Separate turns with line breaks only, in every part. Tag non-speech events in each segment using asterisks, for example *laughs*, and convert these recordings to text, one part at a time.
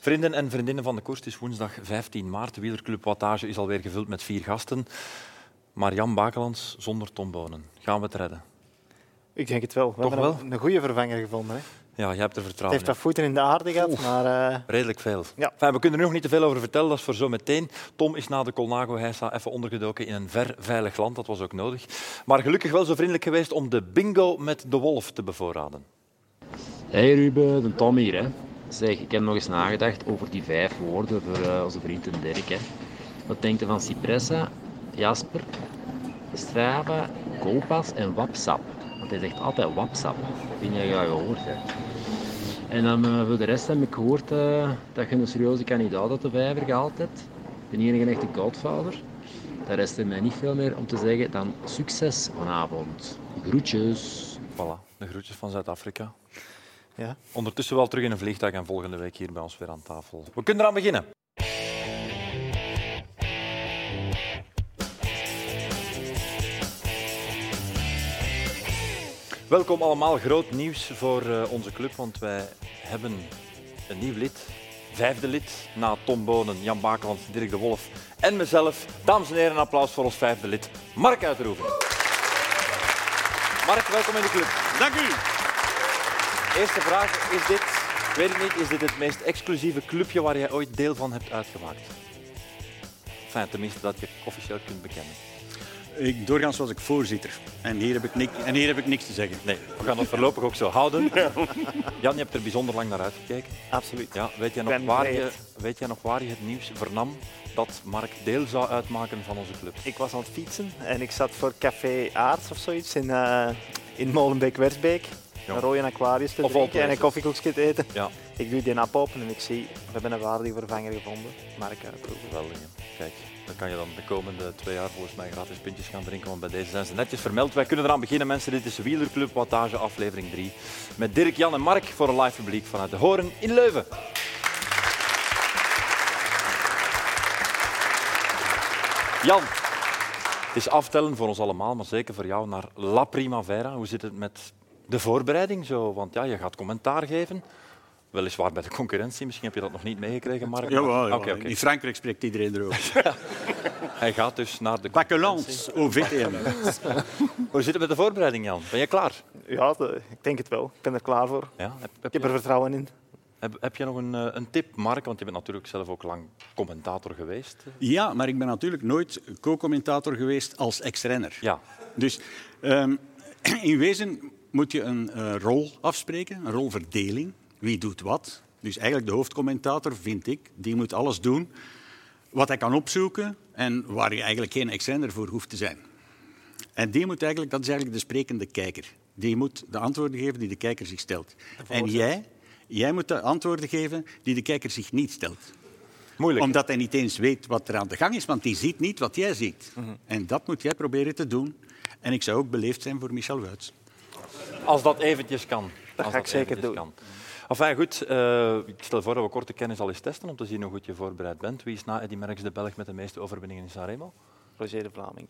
Vrienden en vriendinnen van de koers, het is woensdag 15 maart. De wielerclub Wattage is alweer gevuld met vier gasten. Maar Jan Bakelands zonder Tom Bonen. Gaan we het redden?
Ik denk het wel. We
Toch Ah,
hebben Een, een goede vervanger gevonden. Hè. Het
Ja, je hebt er vertrouwen
heeft wat voeten in de aarde gehad, maar eh,
in. Redelijk veel.
Ja.
Enfin, we kunnen er nog niet te veel over vertellen, dat is voor zo meteen. Tom is na de Colnago Heisa even ondergedoken in een ver veilig land, dat was ook nodig. Maar gelukkig wel zo vriendelijk geweest om de bingo met de wolf te bevoorraden.
Hey Ruben, de Tom hier. Hè. Zeg, ik heb nog eens nagedacht over die vijf woorden voor eh, onze vriend en Dirk. Hè. Wat denkt je van Cipressa, Jasper, Strava, Koolpas en Wapsap? Want hij zegt altijd Wapsap. Vind je dat gehoord hebt. En dan eh, voor de rest heb ik gehoord eh, dat je een serieuze kandidaat uit de vijver gehaald hebt. De enige echte godvader. Daar rest er mij niet veel meer om te zeggen dan succes vanavond. Groetjes.
Voilà, de groetjes van Zuid-Afrika.
ja.
Ondertussen wel terug in een vliegtuig en volgende week hier bij ons weer aan tafel. We kunnen eraan beginnen. Welkom allemaal. Groot nieuws voor eh, onze club, want wij hebben een nieuw lid. Vijfde lid na Tom Bonen, Jan Bakeland, Dirk de Wolf en mezelf. Dames en heren, een applaus voor ons vijfde lid, Mark Uitroeven. Mark, welkom in de club.
Dank u.
Eerste vraag is dit. Ik weet het niet, is dit het meest exclusieve clubje waar jij ooit deel van hebt uitgemaakt? Enfin, tenminste, dat je officieel kunt bekennen.
Ik, doorgaans was ik voorzitter. En hier heb ik, nik- en hier heb ik niks te zeggen.
Nee, we gaan dat voorlopig ook zo houden. Jan, je hebt er bijzonder lang naar uitgekeken.
absoluut.
Ja, weet, jij nog
ben
waar je,
bereid.
weet jij nog waar je het nieuws vernam dat Mark deel zou uitmaken van onze club?
Ik was aan het fietsen en ik zat voor Café Aarts of zoiets in, eh in Molenbeek-Wersbeek.
Ja.
Een rode aquarius te
Of
drinken
Alpleasant.
en een koffiekoekje te eten.
Ja,
Ik doe die app open en ik zie, we hebben een waardige vervanger gevonden. eh, Mark uitroepen.
geweldig. hè. Kijk, dan kan je dan de komende twee jaar volgens mij gratis pintjes gaan drinken, want bij deze zijn ze netjes vermeld. Wij kunnen eraan beginnen, mensen. Dit is de Wielerclub Wattage, aflevering 3. Met Dirk, Jan en Mark voor een live publiek vanuit de Horen in Leuven. Jan, het is aftellen voor ons allemaal, maar zeker voor jou naar La Primavera. Hoe zit het met de voorbereiding zo? Want ja, je gaat commentaar geven. Weliswaar bij de concurrentie, misschien heb je dat nog niet meegekregen, Mark.
Jawel, jawel.
Oké, oké.
In Frankrijk spreekt iedereen *laughs* erover.
Hij gaat dus naar de
Bakelans, OVTM.
Hoe zit het met de voorbereiding, Jan? Ben je klaar?
Ja, de- ik denk het wel. Ik ben er klaar voor.
Ja. Heb,
Ik
heb,
heb
je,
er vertrouwen in.
heb, heb je nog een, eh, een tip, Mark? Want je bent natuurlijk zelf ook lang commentator geweest.
Ja, maar ik ben natuurlijk nooit co-commentator geweest als ex-renner.
Ja,
Dus ehm, *clears throat* in wezen moet je een eh, rol afspreken, een rolverdeling. Wie doet wat? Dus eigenlijk de hoofdcommentator, vind ik, die moet alles doen wat hij kan opzoeken en waar je eigenlijk geen extender voor hoeft te zijn. En die moet eigenlijk, dat is eigenlijk de sprekende kijker. Die moet de antwoorden geven die de kijker zich stelt. En jij, jij moet de antwoorden geven die de kijker zich niet stelt.
moeilijk.
Omdat hij niet eens weet wat er aan de gang is, want die ziet niet wat jij ziet. En dat moet jij proberen te doen. En ik zou ook beleefd zijn voor Michel Wuits.
Als dat eventjes kan. Dat
ga ik zeker doen.
Enfin, goed. eh, ik stel voor dat we korte kennis al eens testen om te zien hoe goed je voorbereid bent. Wie is na Eddy Merckx de Belg met de meeste overwinningen in Sanremo?
Roger de Vlaming.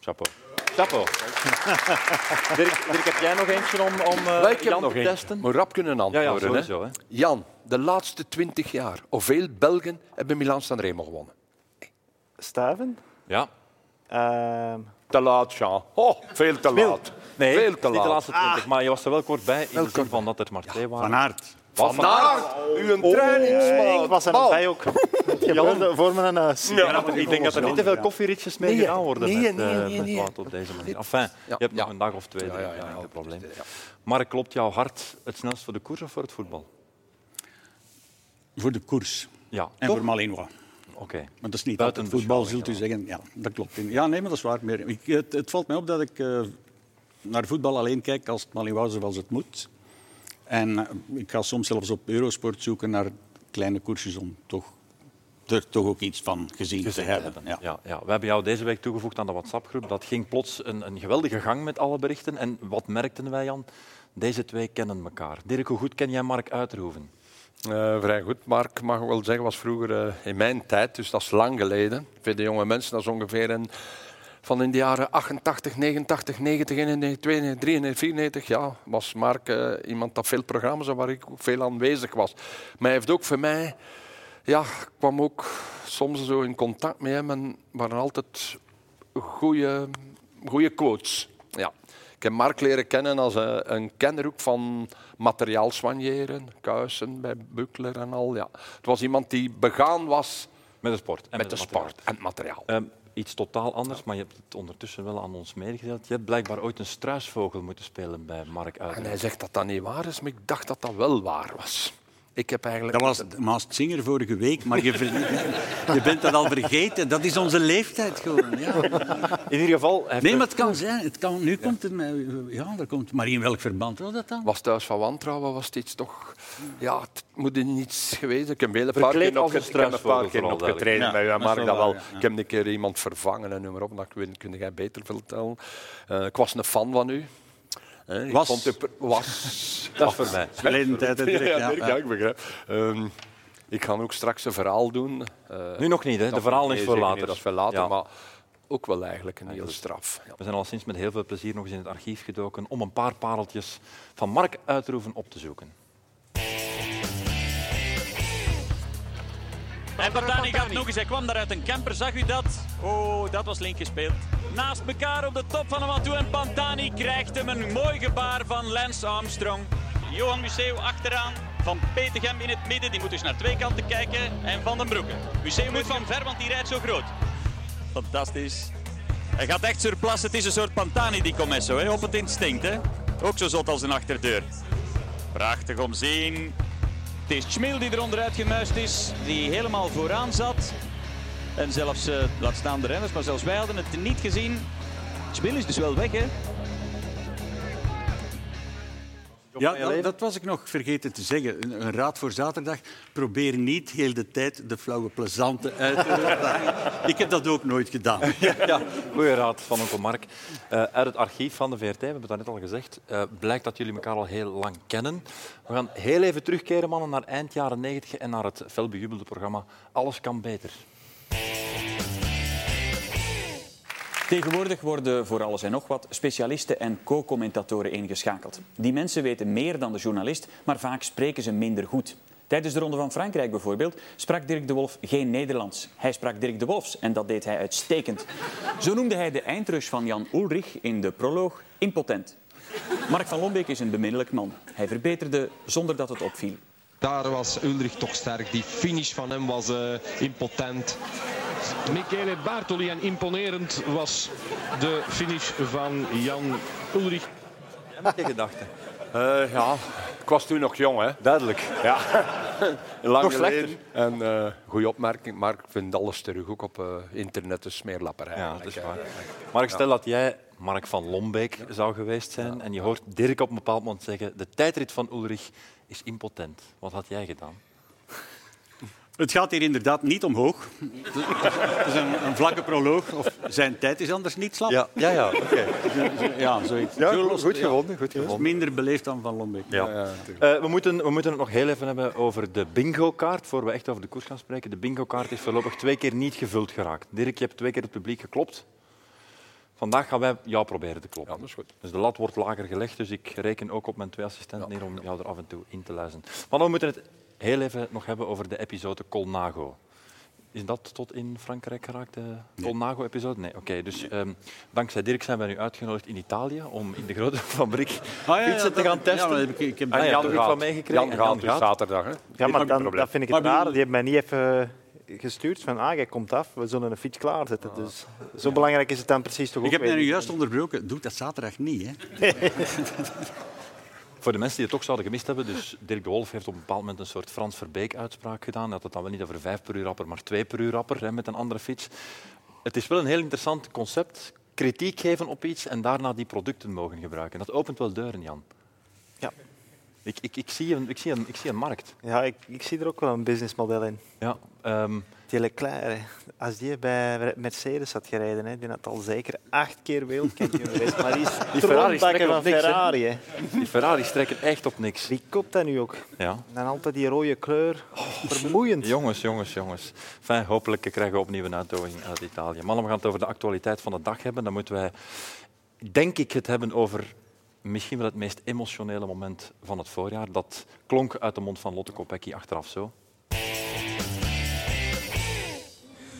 Chapeau. Chapeau. *laughs* Dirk, Dirk, heb jij nog eentje om, om eh,
Wij hebben
Jan
nog
te
één.
testen?
Maar rap kunnen
Ja, ja,
antwoorden. hè.
sowieso. Hè.
Jan, de laatste twintig jaar, hoeveel Belgen hebben Milaan Sanremo gewonnen?
Stuiven?
Ja.
Ehm,
Te laat, Jean. Oh, veel te laat.
Nee,
veel
niet de
te laat.
laatste twintig, maar je was er wel kort bij in Ah. de
kort
zin van dat er maar twee waren.
Van Aert.
Wat van
Aard, uw trainingsmaat.
ik was er nog
Bal.
*laughs* bij ook. Je wilde voor mijn huis.
Ik denk dat er niet te veel koffieritjes mee
Nee,
gedaan worden
nee,
met,
nee,
eh,
nee,
met
nee.
water op deze manier. Enfin, je hebt nog
ja.
een dag of twee,
Ja,
drie,
ja, ja,
dat is
ja.
geen probleem. Mark, klopt jouw hart het snelst voor de koers of voor het voetbal?
Voor de koers.
Ja,
En
toch?
voor Malinois.
Oké.
Maar dat is niet
Buiten
altijd voetbal, zult u
beschouwing,
zeggen. Ja, dat klopt. Ja, nee, maar dat is waar. Meer. Ik, het, het valt mij op dat ik eh, naar voetbal alleen kijk als het Malinois zoals het moet. En eh, ik ga soms zelfs op Eurosport zoeken naar kleine koersjes om toch, er toch ook iets van gezien, te hebben. Ja.
Ja, ja. We hebben jou deze week toegevoegd aan de WhatsApp-groep. Dat ging plots een, een geweldige gang met alle berichten. En wat merkten wij, Jan? Deze twee kennen elkaar. Dirk, hoe goed ken jij Mark Uitroeven?
Eh, vrij goed. Mark mag ik wel zeggen, was vroeger eh, in mijn tijd, dus dat is lang geleden. Voor de jonge mensen, dat is ongeveer een van in de jaren 88, 89, 90, 91, 92, 93, 94. Ja, was Mark eh, iemand dat veel programma's had waar ik ook veel aanwezig was. Maar hij heeft ook voor mij... Ja, ik kwam ook soms zo in contact met hem en waren altijd goede, goede quotes. Ja. Ik heb Mark leren kennen als een, een kenner ook van materiaal soigneren, kuisen bij Buckler en al. Ja. Het was iemand die begaan was
Met de sport. En
met de
het materiaal.
sport en het materiaal.
Ehm, iets totaal anders, maar je hebt het ondertussen wel aan ons meegedeeld. Je hebt blijkbaar ooit een struisvogel moeten spelen bij Mark
En
Uyden.
hij zegt dat dat niet waar is, maar ik dacht dat dat wel waar was. Ik heb eigenlijk...
Dat was Maast Singer vorige week, maar je, ver- *laughs* je bent dat al vergeten. Dat is onze leeftijd gewoon. Ja.
In ieder geval, hij heeft
Nee, maar het kan zijn. Het kan, nu komt het mij. Ja, daar komt, maar in welk verband was dat dan?
was thuis van wantrouwen, was het iets toch... Ja, het moet in iets geweest. Ik heb een hele paar
Verkleed
keer
als een
opge- ik heb een paar
struisvogel,
keer
vooral
opgetreden
duidelijk.
bij
Ja,
jou,
dat is
Mark. Dat wel.
wel waar, ja.
Ik heb een keer iemand vervangen en noem maar op. Dat kun, kun jij beter vertellen. Eh, ik was een fan van u. Hè, ik
Was.
vond u per-
*laughs*
was.
dat is voorbij.
Verleden tijd.
*laughs*
hè,
ja,
direct,
Dirk,
ja.
ja, ik begrijp. Ehm, ik ga ook straks een verhaal doen. Eh,
Nu nog niet, hè? de
dat-
verhaal is
nee,
voor
zeker
later.
niet, Dat is voor later,
Ja.
maar ook wel eigenlijk een heel straf. Ja.
We zijn al sinds met heel veel plezier nog eens in het archief gedoken om een paar pareltjes van Mark Uitroeven op te zoeken.
En Bertani gaat nog eens. Hij kwam daar uit een camper. Zag u dat? Oh, dat was link gespeeld. Naast elkaar op de top van hem aan toe. En Pantani krijgt hem een mooi gebaar van Lance Armstrong. Johan Museeuw achteraan. Van Petegem in het midden. Die moet dus naar twee kanten kijken. En Van den Broeke. Museeuw moet van ver, want die rijdt zo groot. Fantastisch. Hij gaat echt surplassen. Het is een soort Pantani die Comesso. Hè? Op het instinct. Hè? Ook zo zot als een achterdeur. Prachtig om zien. Het is Schmil die er onderuit gemuist is, die helemaal vooraan zat. En zelfs, eh, laat staan de renners, maar zelfs wij hadden het niet gezien. Schmil is dus wel weg, hè?
Ja, dat, dat was ik nog vergeten te zeggen. Een, een raad voor zaterdag. Probeer niet heel de tijd de flauwe plezante uit te roepen. Ik heb dat ook nooit gedaan.
Ja, goeie raad van onkel Mark. Eh, uit het archief van de VRT, we hebben het net al gezegd, eh, blijkt dat jullie elkaar al heel lang kennen. We gaan heel even terugkeren, mannen, naar eind jaren 90 en naar het felbejubelde programma Alles kan beter.
Tegenwoordig worden voor alles en nog wat specialisten en co-commentatoren ingeschakeld. Die mensen weten meer dan de journalist, maar vaak spreken ze minder goed. Tijdens de Ronde van Frankrijk bijvoorbeeld sprak Dirk de Wolf geen Nederlands. Hij sprak Dirk de Wolfs en dat deed hij uitstekend. Zo noemde hij de eindrush van Jan Ulrich in de proloog impotent. Mark van Lombeek is een beminnelijk man. Hij verbeterde zonder dat het opviel.
Daar was Ulrich toch sterk. Die finish van hem was eh, impotent.
Michele Bartoli en imponerend was de finish van Jan Ulrich.
Heb je
*laughs*
gedachten?
Eh, ja, ik was toen nog jong, hè.
Duidelijk.
Ja, lang
Nog
geleden. En eh, goede opmerking, maar ik vind alles terug, ook op eh, internet, een smeerlapperij.
Ja, dat
eigenlijk,
is
hè.
waar. Maar ik stel dat jij Mark van Lombeek zou geweest zijn en je hoort Dirk op een bepaald moment zeggen de tijdrit van Ulrich is impotent. Wat had jij gedaan?
Het gaat hier inderdaad niet omhoog. Het is een, een vlakke proloog. Of zijn tijd is anders niet slap. Ja,
Ja, ja, oké.
ja zoiets. Zo
Ja,
lost-
goed
ja.
gewonnen. Goed
Dat is
gewonnen.
minder beleefd dan Van Lombeek.
Eh, we, moeten, we moeten het nog heel even hebben over de bingo-kaart, voor we echt over de koers gaan spreken. De bingo-kaart is voorlopig twee keer niet gevuld geraakt. Dirk, je hebt twee keer het publiek geklopt. Vandaag gaan wij jou proberen te kloppen.
Ja, dat is goed.
Dus de lat wordt lager gelegd, dus ik reken ook op mijn twee assistenten hier om jou er af en toe in te luizen. Maar dan moeten we het heel even nog hebben over de episode Colnago. Is dat tot in Frankrijk geraakt, de Colnago-episode? Nee, oké. dus ehm, dankzij Dirk zijn wij nu uitgenodigd in Italië om in de grote *laughs* fabriek
Ah, ja, ja,
fietsen te
dat-
gaan testen.
ja, maar ik, ik heb
Ah,
daar
ja,
toch
toch
iets
iets
van
van meegekregen.
Jan
En
gaat dus zaterdag, hè.
Ja, maar dan,
probleem.
dat vind ik
Maar
het
bedoel-
raar. Die hebben mij niet even eh, gestuurd van ah, jij komt af, we zullen een fiets klaarzetten. Dus zo belangrijk is het dan precies toch ook
Ik heb mij
weer
nu
niet.
juist onderbroken. Doe dat zaterdag niet. Hè.
Voor de mensen die het toch zouden gemist hebben, dus Dirk de Wolf heeft op een bepaald moment een soort Frans Verbeek-uitspraak gedaan. Hij had het dan wel niet over vijf per uur rapper, maar twee per uur rapper hè, met een andere fiets. Het is wel een heel interessant concept. Kritiek geven op iets en daarna die producten mogen gebruiken. Dat opent wel deuren, Jan.
Ja.
Ik, ik, ik, zie een, ik, zie een, ik zie een markt.
Ja, ik, ik zie er ook wel een businessmodel in.
Ja, ehm,
Die Leclerc, hè. als die bij Mercedes had gereden, hè, die had al zeker acht keer wereldkampioen geweest. Maar die is die
Ferrari trekken
van
op niks, hè.
Ferrari. hè.
die Ferraris trekken echt op niks.
Wie koopt dat nu ook?
Ja.
En dan altijd die rode kleur. Vermoeiend.
Jongens, jongens, jongens. Fijn, hopelijk krijgen we opnieuw een uitnodiging uit Italië. Mannen, we gaan het over de actualiteit van de dag hebben. Dan moeten wij, denk ik, het hebben over misschien wel het meest emotionele moment van het voorjaar. Dat klonk uit de mond van Lotte Kopecky achteraf zo.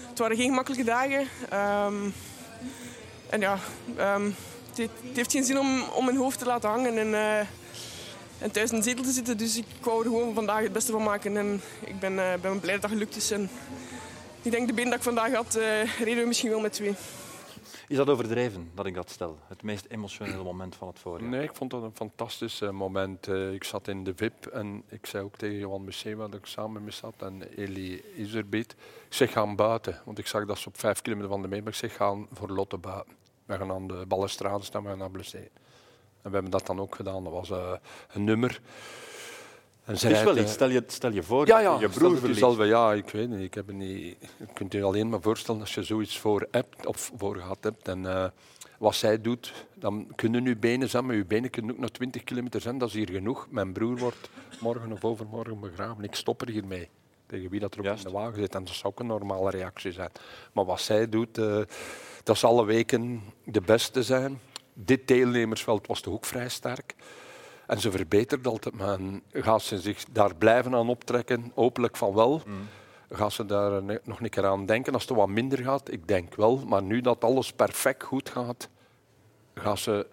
Het waren geen gemakkelijke dagen. Ehm, en ja, ehm, het, heeft- het heeft geen zin om, om mijn hoofd te laten hangen en, eh, en thuis in de zetel te zitten. Dus ik wou er gewoon vandaag het beste van maken. En ik ben, eh, ben blij dat dat gelukt is. En ik denk de been dat ik vandaag had, eh, reden we misschien wel met twee.
Is dat overdreven dat ik dat stel? Het meest emotionele moment van het voorjaar?
Nee, ik vond dat een fantastisch eh, moment. Eh, ik zat in de VIP en ik zei ook tegen Johan Museeuw, dat ik samen mee zat, en Eli Izerbeet. Ik zeg, ga buiten. Want ik zag dat ze op vijf kilometer van de meet. maar Ik zeg, gaan voor Lotte buiten. We gaan aan de balustrade staan, we gaan naar Blessé. En we hebben dat dan ook gedaan. Dat was eh, een nummer. En ze
Het is wel
rijdt,
iets.
eh,
Stel je, stel je voor
ja,
dat
ja.
je je
stel
broer
dat het is
verliest.
al wel- ja, ik weet niet. Ik heb het niet. Je kunt je alleen maar voorstellen als je zoiets voor hebt of voor gehad hebt en eh, wat zij doet, dan kunnen uw benen zijn, maar uw benen kunnen ook nog 20 kilometer zijn. Dat is hier genoeg. Mijn broer wordt morgen of overmorgen begraven. Ik stop er hiermee. Tegen wie dat er ook
Juist.
in de wagen zit. En dat zou ook een normale reactie zijn. Maar wat zij doet, eh, dat zal alle weken de beste zijn. Dit deelnemersveld was toch ook vrij sterk. En ze verbetert altijd, maar gaat ze zich daar blijven aan optrekken? Hopelijk van wel. Gaat ze daar eh, ne- nog een keer aan denken als het wat minder gaat? Ik denk wel. Maar nu dat alles perfect goed gaat, gaat ze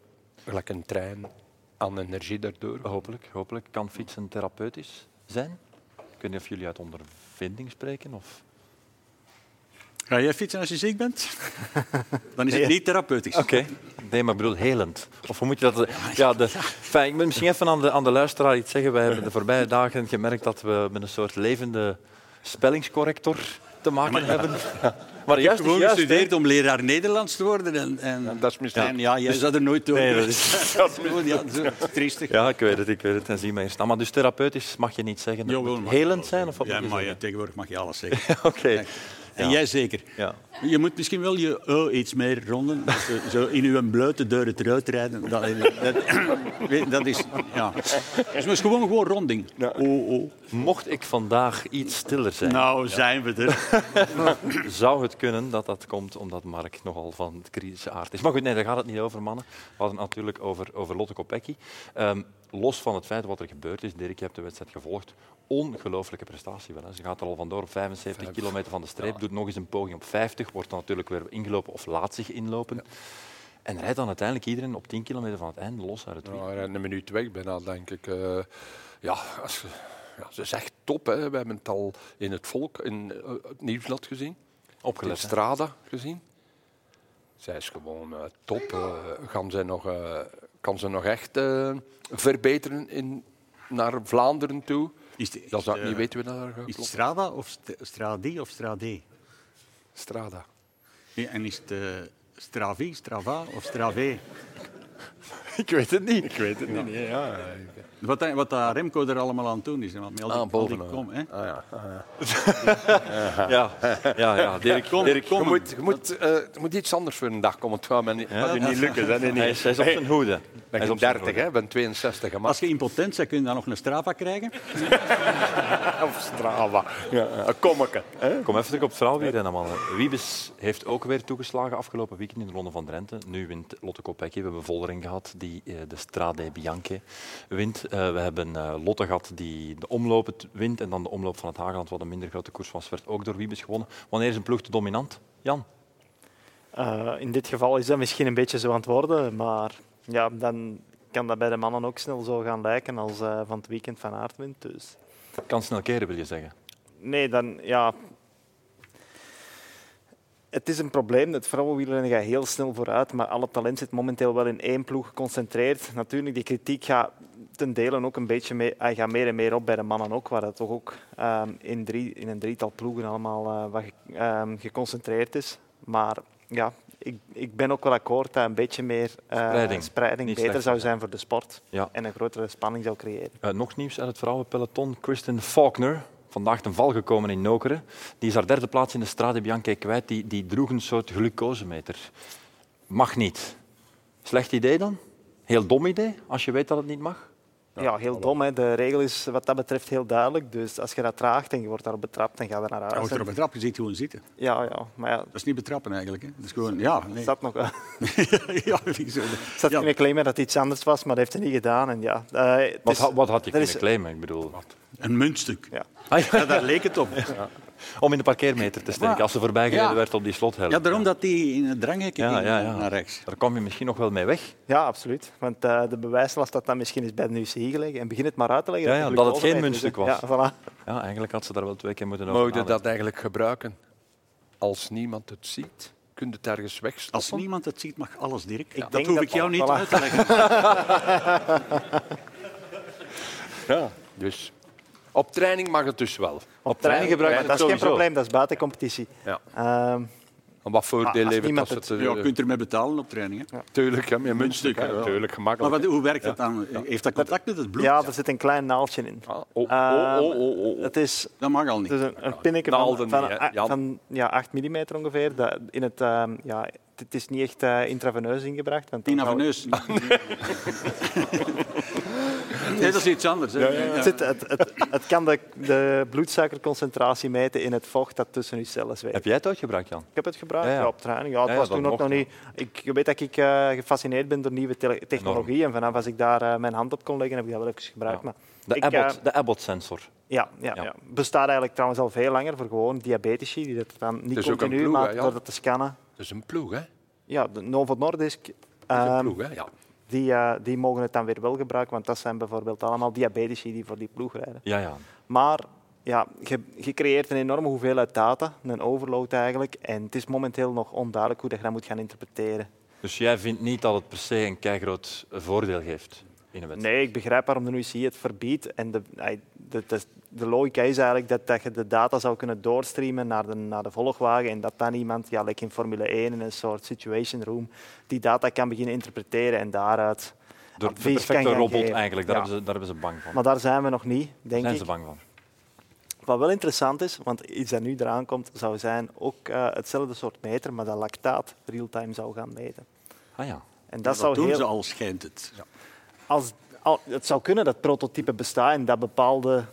gelijk een trein aan energie daardoor.
Hopelijk, hopelijk. Kan fietsen therapeutisch zijn? Ik weet niet of jullie uit ondervinding spreken of...
Ga jij fietsen als je ziek bent? *laughs* Dan is het niet therapeutisch.
Oké. Nee, maar ik bedoel helend. Of hoe moet je dat... Ja, de... Fijn, ik moet misschien even aan de, aan de luisteraar iets zeggen. Wij hebben de voorbije dagen gemerkt dat we met een soort levende spellingscorrector te maken hebben. Ja. Maar
Ik heb
juist is
gewoon
juist, hè.
gestudeerd om leraar Nederlands te worden. En, en,
dat is mislukt.
en ja, jij zat er nooit door.
Nee, dat
dat is gewoon, *laughs* ja, zo, triestig.
Ja, ik weet het, ik weet het. En zie mij hier staan. Maar dus therapeutisch mag je niet zeggen. Dat
Jawel,
moet
mag
helend zijn? Of wat
Ja,
moet je
maar ja,
zeggen?
tegenwoordig mag je alles zeggen.
*laughs* Oké.
En jij zeker.
Ja.
Je moet misschien wel je oh, iets meer ronden. Dat ze zo in uw blote deuren eruit rijden. Dat, dat, weet- dat is... Ja. Dus het is gewoon, gewoon ronding. Oh, oh.
Mocht ik vandaag iets stiller zijn,
Nou, zijn we er.
zou het kunnen dat dat komt omdat Mark nogal van het kritische aard is. Maar goed, nee, daar gaat het niet over, mannen. We hadden het natuurlijk over, over Lotte Kopecky. Ehm, los van het feit wat er gebeurd is, Dirk, je hebt de wedstrijd gevolgd. Ongelooflijke prestatie wel. Hè. Ze gaat er al vandoor op 75 kilometer van de streep, doet nog eens een poging op 50, wordt dan natuurlijk weer ingelopen of laat zich inlopen. En rijdt dan uiteindelijk iedereen op 10 kilometer van het einde los uit het wiel.
Nou, hij rijdt een minuut weg bijna, denk ik. Eh, ja, als, je- ja, ze is echt top. Hè. We hebben het al in het volk, in eh, het nieuwsblad gezien.
Opgelet,
in
hè.
Strada gezien. Zij is gewoon eh, top. Eh, kan, zij nog, eh, kan ze nog echt eh, verbeteren in, naar Vlaanderen toe?
Is het- is
dat zou ik
het,
niet
eh,
weten we naar haar gaat
Is het
kloppen.
Strada of St- Stradi of Stradé?
Strada.
Ja, en is het eh, Stravi, Strava of Stravé?
*laughs* Ik weet het niet.
Wat, dat- wat dat Remco er allemaal aan het doen is. hè, Want met al die,
Ah,
al die
bovenaan.
kom, hè.
Ja, ja, ja. Dirk,
Kom,
Dirk
kom.
Je moet, je moet, eh, het moet iets anders voor een dag komen. Het gaat me niet, gaat u niet lukken. Hè? Nee, nee.
Hij is, hij is op zijn hoede. Hij
Ik
is
ben
op zijn
30,
hoede.
hè? Ik ben 62 gemaakt.
Als je impotent bent, kun je dan nog een Strava krijgen.
Of Strava. Ja, een kommeke.
Kom even terug op het verhaal weer, rennen, mannen. Wiebes heeft ook weer toegeslagen afgelopen weekend in de Ronde van Drenthe. Nu wint Lotte Kopecky. We hebben Voldering gehad die eh, de Strade Bianche wint. Eh, we hebben eh, Lotte gehad die de omloop het wint. En dan de omloop van het Hageland, wat een minder grote koers was, werd ook door Wiebes gewonnen. Wanneer is een ploeg te dominant? Jan?
Eh, in dit geval is dat misschien een beetje zo aan het worden, maar ja, dan kan dat bij de mannen ook snel zo gaan lijken als eh, van het weekend van Aert wint. Dus.
Kan snel keren, wil je zeggen.
Nee, dan ja. Het is een probleem. Het vrouwenwielrennen gaat heel snel vooruit, maar alle talent zit momenteel wel in één ploeg geconcentreerd. Natuurlijk, die kritiek gaat ten dele ook een beetje mee, hij gaat meer en meer op bij de mannen ook, waar dat toch ook ehm, in, drie, in een drietal ploegen allemaal eh, wat ge- ehm, geconcentreerd is. Maar ja, ik, ik ben ook wel akkoord dat een beetje meer eh,
Spreiding. Niet
beter
slecht.
zou zijn voor de sport.
Ja.
En een grotere spanning zou creëren.
Eh, nog nieuws uit het vrouwenpeloton. Kristen Faulkner, vandaag ten val gekomen in Nokeren. Die is haar derde plaats in de Strade Bianche kwijt. Die, die droeg een soort glucosemeter. Mag niet. Slecht idee dan? Heel dom idee, als je weet dat het niet mag?
Ja, heel dom. Hè. De regel is wat dat betreft heel duidelijk. Dus als je dat traagt en je wordt daarop betrapt, dan ga je naar
Hij
huis.
wordt erop betrapt, je ziet gewoon zitten.
Ja, ja. Maar ja,
Dat is niet betrappen eigenlijk. Hè. Dat is gewoon, ja,
het
nee.
zat nog...
*laughs*
*laughs*
ja, wie zou dat-
Er zat
Ja.
kunnen claimen dat het iets anders was, maar dat heeft hij niet gedaan. En ja, eh, het
Wat,
is-
ha- wat had je
dat
kunnen
is-
claimen? Ik bedoel,
Een muntstuk.
Ja.
Ja, daar leek het op.
om in de parkeermeter te steken
Maar-
als ze voorbijgereden
Ja.
werd op die slothelm.
Ja, daarom dat die in het dranghek
Ja,
ging
ja, ja.
naar rechts.
Daar kwam je misschien nog wel mee weg.
ja, absoluut. Want eh, de bewijslast dat dan misschien is bij de UCI gelegen. En begin het maar uit te leggen.
Ja, ja, dat het geen
glucose
muntstuk
is, hè. Dus, Ja, voilà.
Ja, eigenlijk had ze daar wel twee keer moeten over
Mogen
nadenken.
dat eigenlijk gebruiken? Als niemand het ziet, kun je het ergens wegstoppen.
Als niemand het ziet, mag alles, Dirk.
denk
dat hoef
dat-
ik jou niet
voilà.
uit te leggen.
Dus op training mag het dus wel.
Op
trein gebruiken
maar dat is
het
geen
sowieso.
probleem, dat is buiten competitie.
Ja.
Ehm,
En wat voordeel
als
heeft
niemand
dat? Het,
Ja, je kunt ermee betalen op trainingen.
Tuurlijk, hè, met muntstuk.
muntstuk,
hè.
ja.
Tuurlijk,
Maar
gemakkelijk.
wat, hoe werkt dat dan? Heeft dat contact met het bloed?
ja, er zit een klein naaltje in.
Ah, oh,
Ehm,
oh, oh, oh, oh.
Het is
Dat mag al niet.
dus een, een pinnetje
Naalden
van, van,
niet, hè,
a-
Jan?
van, ja, 8 mm ongeveer. Dat in het, ehm, ja, het is niet echt eh, intraveneus ingebracht. Want dan
Tina van
zou-
Neus. *laughs* Nee, dat is iets anders. hè.
Het, zit- het, het, het kan de, de bloedsuikerconcentratie meten in het vocht dat tussen uw cellen zweeft.
Heb jij het uitgebruikt, Jan?
Ik heb het gebruikt
Ja, ja.
ja, op training. Ja, het
Ja, ja,
was
dat
toen ook nog
mocht
niet. Ik weet dat ik eh, gefascineerd ben door nieuwe tele- technologie. En vanaf als ik daar eh, mijn hand op kon leggen, heb ik dat wel even gebruikt.
Ja.
Maar
De
ik,
Abbott,
eh,
de Abbott-sensor.
ja, ja,
Ja.
ja. bestaat eigenlijk trouwens al veel langer voor gewoon diabetici. Die dat dan niet
is ook een
continu,
ploeg, hè,
maar
ja.
door dat te scannen.
Dat is een ploeg, hè? Dat is
Ja, de Novo Nordisk,
een
ehm,
ploeg, hè? Ja.
die, eh, die mogen het dan weer wel gebruiken. Want dat zijn bijvoorbeeld allemaal diabetici die voor die ploeg rijden.
Ja, ja.
Maar ja, je, je creëert een enorme hoeveelheid data, een overload eigenlijk. En het is momenteel nog onduidelijk hoe dat je dat moet gaan interpreteren.
Dus jij vindt niet dat het per se een keigroot voordeel geeft in een wedstrijd?
Nee, ik begrijp waarom de UCI het verbiedt. En de, ai, de, de, de logica is eigenlijk dat, dat je de data zou kunnen doorstreamen naar de, naar de volgwagen en dat dan iemand, ja, like in Formule 1 in een soort situation room, die data kan beginnen interpreteren en daaruit
De, de
advies kan
perfecte
gaan
robot
geven.
eigenlijk, daar,
Ja.
hebben ze, daar hebben ze bang van.
Maar daar zijn we nog niet,
Daar
denk
zijn
ik.
ze bang van.
Wat wel interessant is, want iets dat nu eraan komt, zou zijn ook eh, hetzelfde soort meter, maar dat lactaat real-time zou gaan meten.
Ah ja.
En dat,
Dat,
zou
doen
heel,
ze al, schijnt het.
als, al, het zou kunnen dat prototypen bestaan en dat bepaalde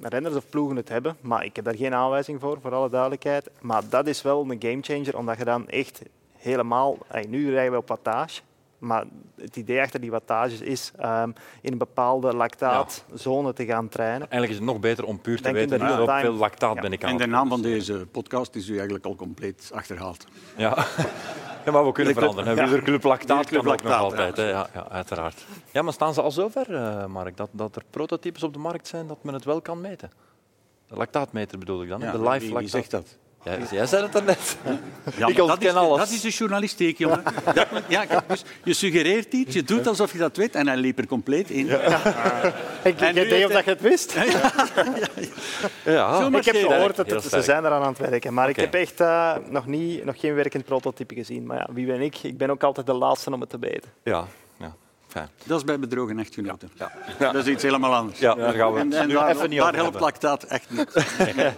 renners of ploegen het hebben, maar ik heb daar geen aanwijzing voor, voor alle duidelijkheid. Maar dat is wel een gamechanger, omdat je dan echt helemaal... ey, nu rijden we op wattage, maar het idee achter die wattages is ehm, in een bepaalde lactaatzone te gaan trainen.
Eigenlijk is het nog beter om puur te
Denk in
weten
de
hoeveel
real-time.
lactaat
Ja.
ben ik aan
En de
het
naam van deze podcast is u eigenlijk al compleet achterhaald.
Ja. *laughs* ja, maar we kunnen veranderen. Hè. Wieler Club Lactaat
Wielerclub
kan ook nog
Lactaat,
altijd. Hè. Ja, ja, uiteraard. Ja, maar staan ze al zover, eh Mark, dat, dat er prototypes op de markt zijn dat men het wel kan meten? De lactaatmeter bedoel ik dan, hè?
Ja,
de
wie-
live
wie,
lactaat.
zegt dat?
Jij, jij zei het daarnet.
Ja,
*laughs* Ik
maar dat,
ontken
is de,
alles.
dat is de journalistiek, jongen. Dat moet- *laughs* ja, kijk, dus je suggereert iets, je doet alsof je dat weet en hij liep er compleet in.
Ik,
En
ik
nu
deed
heeft
of dat je het wist.
Ja.
Zo maar
Ik heb
sterk.
gehoord dat
Heel
het- ze
sterk.
zijn eraan aan het werken. Maar
Oké.
ik heb echt eh, nog, niet, nog geen werkend prototype gezien. Maar ja, wie ben ik? Ik ben ook altijd de laatste om het te weten.
Ja, ja. Fijn.
Dat is bij bedrogen echtgenoten. Dat is iets helemaal anders.
Ja, daar gaan we
En,
het
en
nu
daar,
even niet
daar
over hebben.
helpt lactaat echt niet.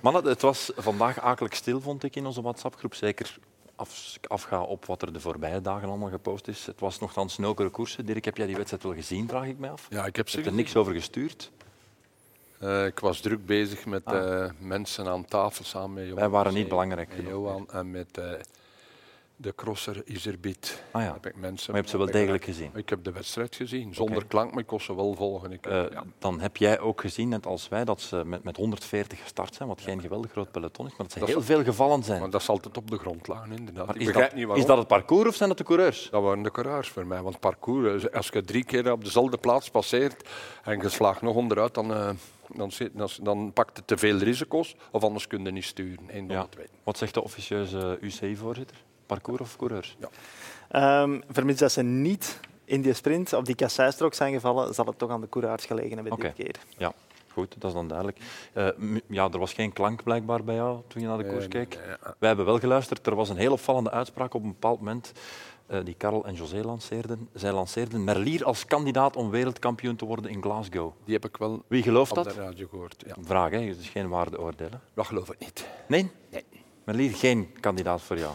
Mannen, het was vandaag akelig stil, vond ik, in onze WhatsApp-groep. Zeker als ik afga op wat er de voorbije dagen allemaal gepost is. Het was nogthans snelkere koersen. Dirk, heb jij die wedstrijd wel gezien, vraag ik mij af?
Ja, ik heb
Je hebt er
ze
niks over gestuurd.
Eh, ik was druk bezig met eh, mensen aan tafel samen met Johan.
Ah. Wij waren niet
en-
belangrijk
en
genoeg.
Johan en met eh, de crosser Iserbiet.
Ah ja.
Heb ik mensen
Maar je hebt ze wel degelijk gezien?
Ik heb de wedstrijd gezien, zonder klank, maar ik kon ze wel volgen. Ik,
Eh,
ja.
Dan heb jij ook gezien, net als wij, dat ze met, met 140 gestart zijn, wat geen geweldig groot peloton is, maar dat ze
Dat is-
heel veel gevallen zijn.
Maar dat is altijd op de grond lagen, inderdaad.
Maar
ik
is,
begrijp
dat,
niet
is
waarom.
dat het parcours of zijn dat de coureurs?
Dat waren de coureurs voor mij. Want parcours, eh, als je drie keer op dezelfde plaats passeert en je slaagt nog onderuit, dan, eh, dan, zit, dan, dan pakt het te veel risico's. Of anders kun je niet sturen. Eén van
Ja.
de twee.
Wat zegt de officieuze UCI-voorzitter? Parcours of coureurs?
Ehm vermits dat ze niet in die sprint op die kasseistrook zijn gevallen, zal het toch aan de coureurs gelegen hebben
Oké.
dit keer.
Ja. Goed, dat is dan duidelijk. Eh, mu- ja, er was geen klank blijkbaar bij jou toen je naar de koers
Eh,
keek.
eh,
Wij hebben wel geluisterd. Er was een heel opvallende uitspraak op een bepaald moment eh, die Karel en José lanceerden. Zij lanceerden Merlier als kandidaat om wereldkampioen te worden in Glasgow.
Die heb ik wel
Wie gelooft
op
dat?
de radio gehoord. Ja.
Vraag, hè? Het is geen waardeoordelen.
Dat geloof ik niet.
Nee?
Nee.
Merlier, geen kandidaat voor jou.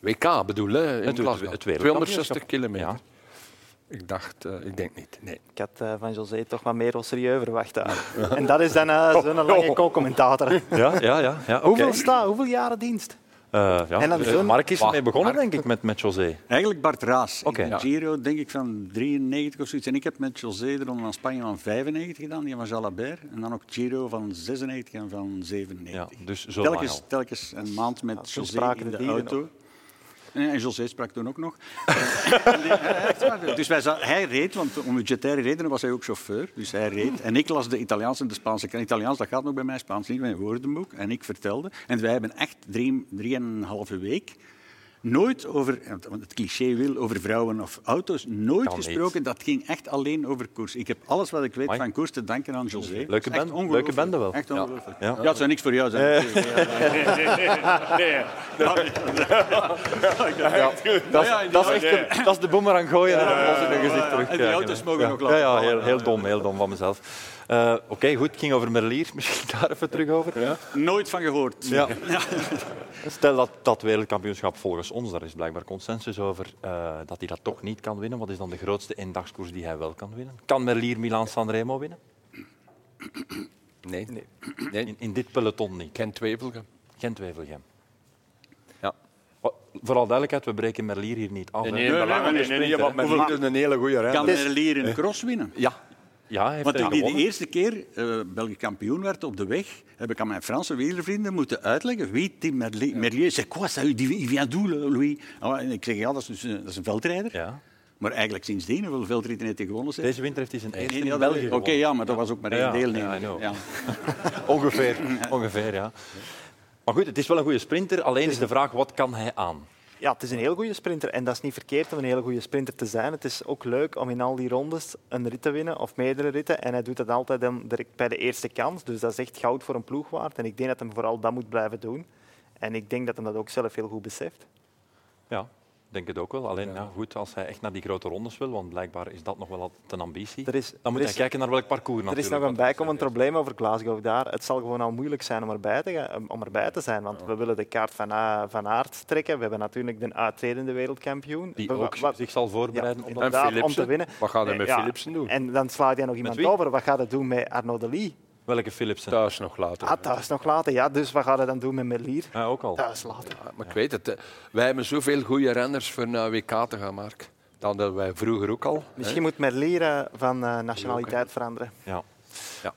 WK bedoel, hè, in
Het- het-
Glasgow.
het wereldkampioenschap.
260 kilometer.
Ja.
Ik dacht, eh, ik denk niet. Nee.
Ik had eh, van José toch wat meer serieus verwacht. daar. En dat is
*laughs*
dan
Oh,
eh, zo'n lange co-commentator.
Ja, ja, ja. ja oké.
Hoeveel, sta, hoeveel jaren dienst?
Eh, ja.
En dan
eh,
zo'n-
Mark is
Wacht,
ermee begonnen,
Mark.
denk ik, met, met José.
Eigenlijk Bart Raas.
Oké.
In de Giro denk ik van 93 of zoiets. En ik heb met José de Ronde van Spanje van 95 gedaan, die van Jalabert. En dan ook Giro van 96 en van 97.
Ja, dus zo lang
telkens,
al.
telkens een maand met
toen
José
spraken
in
de
de
dieren
auto. En, en José sprak toen ook nog. En die- eh, echt waar. dus wij za- hij reed, want om budgettaire redenen was hij ook chauffeur. Dus hij reed. En ik las de Italiaans en de Spaanse krant. Italiaans, dat gaat nog bij mij, Spaans niet, mijn woordenboek. En ik vertelde. En wij hebben echt drie, drieënhalve week nooit over, want het cliché wil, over vrouwen of auto's, nooit
Kan niet.
gesproken. Dat ging echt alleen over koers. Ik heb alles wat ik weet
Amai.
van koers te danken aan José.
Leuke
Dat is echt
band- leuke
ongelooflijk.
bende wel.
Echt ongelooflijk.
Ja.
Ja.
Ja. Eh.
het zou niks voor jou zijn.
Dat is,
Ja, ja,
dat is
ja,
echt
ja.
de, dat is de boemerang gooien en dan pas in hun gezicht terug.
En die auto's mogen nog
Ja,
laten
ja
vallen.
heel, heel dom, heel dom van mezelf. Eh, Oké, goed, het ging over Merlier. *laughs* Misschien daar even terug over.
Nooit van gehoord. *laughs*
Ja. Stel dat dat wereldkampioenschap volgens ons, daar is blijkbaar consensus over, eh, dat hij dat toch niet kan winnen. Wat is dan de grootste eendagskoers die hij wel kan winnen? Kan Merlier Milaan-Sanremo winnen?
Nee. nee.
In, in dit peloton niet.
Geen twijfel.
Geen twijfelgem.
Ja.
Vooral duidelijkheid, we breken Merlier hier niet af. hè.
nee, maar lange sprinten,
want mijn
Hoeveel-
vriend
een hele goede
Kan
rijder.
Merlier een cross winnen?
Ja,
Ja, hij heeft
Want
hij
toen ik de
gewonnen.
eerste keer eh Belgisch kampioen werd op de weg, heb ik aan mijn Franse wielervrienden moeten uitleggen wie Tim Merlier... Merlier, c'est quoi ça? Il vient d'où, Louis? Ah, en ik zeg, ja, dat is, dus, eh, dat is een veldrijder.
Ja.
Maar eigenlijk sindsdien, hoeveel veldritten heeft hij gewonnen? zeg?
Deze winter heeft hij zijn eerste
Nee, nee,
in
dat-
België
Oké,
gewonnen.
ja, maar dat was ook maar één
Ja, ja, I
deelnemer.
know.
Ja.
Ongeveer, ongeveer, ja. Maar goed, het is wel een goede sprinter. Alleen is de vraag, wat kan hij aan?
Ja, het is een heel goede sprinter. En dat is niet verkeerd om een hele goede sprinter te zijn. Het is ook leuk om in al die rondes een rit te winnen of meerdere ritten. En hij doet dat altijd dan direct bij de eerste kans. Dus dat is echt goud voor een ploeg waard. En ik denk dat hij vooral dat moet blijven doen. En ik denk dat hij dat ook zelf heel goed beseft.
Ja, ik denk het ook wel. Alleen ja, goed, als hij echt naar die grote rondes wil, want blijkbaar is dat nog wel altijd een ambitie,
Er is-
dan moet
er
hij
is-
kijken naar welk parcours
Er is
natuurlijk.
nog een bijkomend probleem over Glasgow daar. Het zal gewoon al moeilijk zijn om erbij te, gaan- om erbij te zijn. Want we willen de kaart van, A- van Aert trekken. We hebben natuurlijk de uitredende wereldkampioen.
Die
We-
ook
wat-
zich zal
ja,
voorbereiden om dat
inderdaad, om te
Philipsen?
winnen.
Wat gaat hij
Nee,
met
ja,
Philipsen doen?
En dan slaat hij nog iemand
wie?
over. Wat gaat hij doen met Arnaud Delis?
Welke Philipsen?
thuis nog later.
Ah, thuis nog later. Ja, dus wat gaat hij dan doen met Melier?
Ja, ook al.
Thuis later.
Ja, Maar ik weet het, hè. wij hebben zoveel goede renners voor naar WK te gaan, Mark. Dan dat wij vroeger ook al.
Misschien moet Merlier eh, van eh, nationaliteit veranderen.
Ja.
Ja.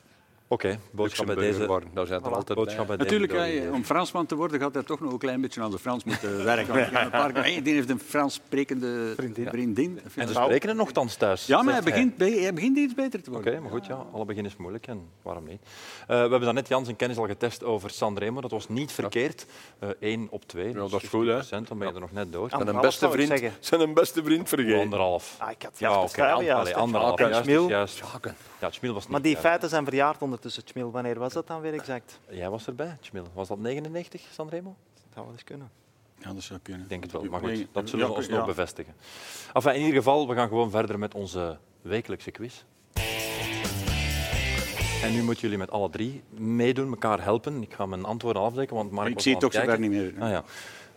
Oké, boodschap bij
Luxemburger
deze.
worden, daar zijn er
Voilà.
altijd bij.
Boodschap bij
Natuurlijk,
deze.
hè, om Fransman te worden gaat hij toch nog een klein beetje aan de
*laughs*
Frans moeten werken. Want Een paar, hey, die heeft een Frans sprekende
Vriendin.
vriendin.
En ze spreken het nogthans thuis.
Ja, maar hij
zegt
begint, bij- hij begint iets beter te
Oké,
worden.
maar goed, ja, alle begin is moeilijk en waarom niet? Eh, we hebben daarnet Jans en Kennis al getest over Sanremo. Dat was niet verkeerd. Eh 1 op 2.
Ja, dat is goed, hè?
Dan ben je er nog net door.
Ah,
Zijn een
Anderhalf
beste
zou ik
vriend,
zeggen.
zijn een beste vriend vergeten.
Anderhalf.
Ah, ik had
Ja, oké.
ja,
an- allee, anderhalf.
Schaken,
Juist,
Schmil.
juist. dus, Ja, Tjmil was niet
Maar die
juist.
feiten zijn verjaard ondertussen, Tjmil. Wanneer was dat dan weer exact?
Jij was erbij, Tjmil. Was dat 99, Sanremo?
Dat zou wel eens kunnen.
Ja, dat zou kunnen.
Ik denk het wel. Maar goed,
Nee,
dat zullen we
ja,
ons
ja.
nog bevestigen. Enfin, in ieder geval, we gaan gewoon verder met onze wekelijkse quiz. En nu moeten jullie met alle drie meedoen, elkaar helpen. Ik ga mijn antwoorden afdekken, want Mark
Ik
was
zie
al
het ook
aan
zover
kijken.
niet meer.
Ah, ja.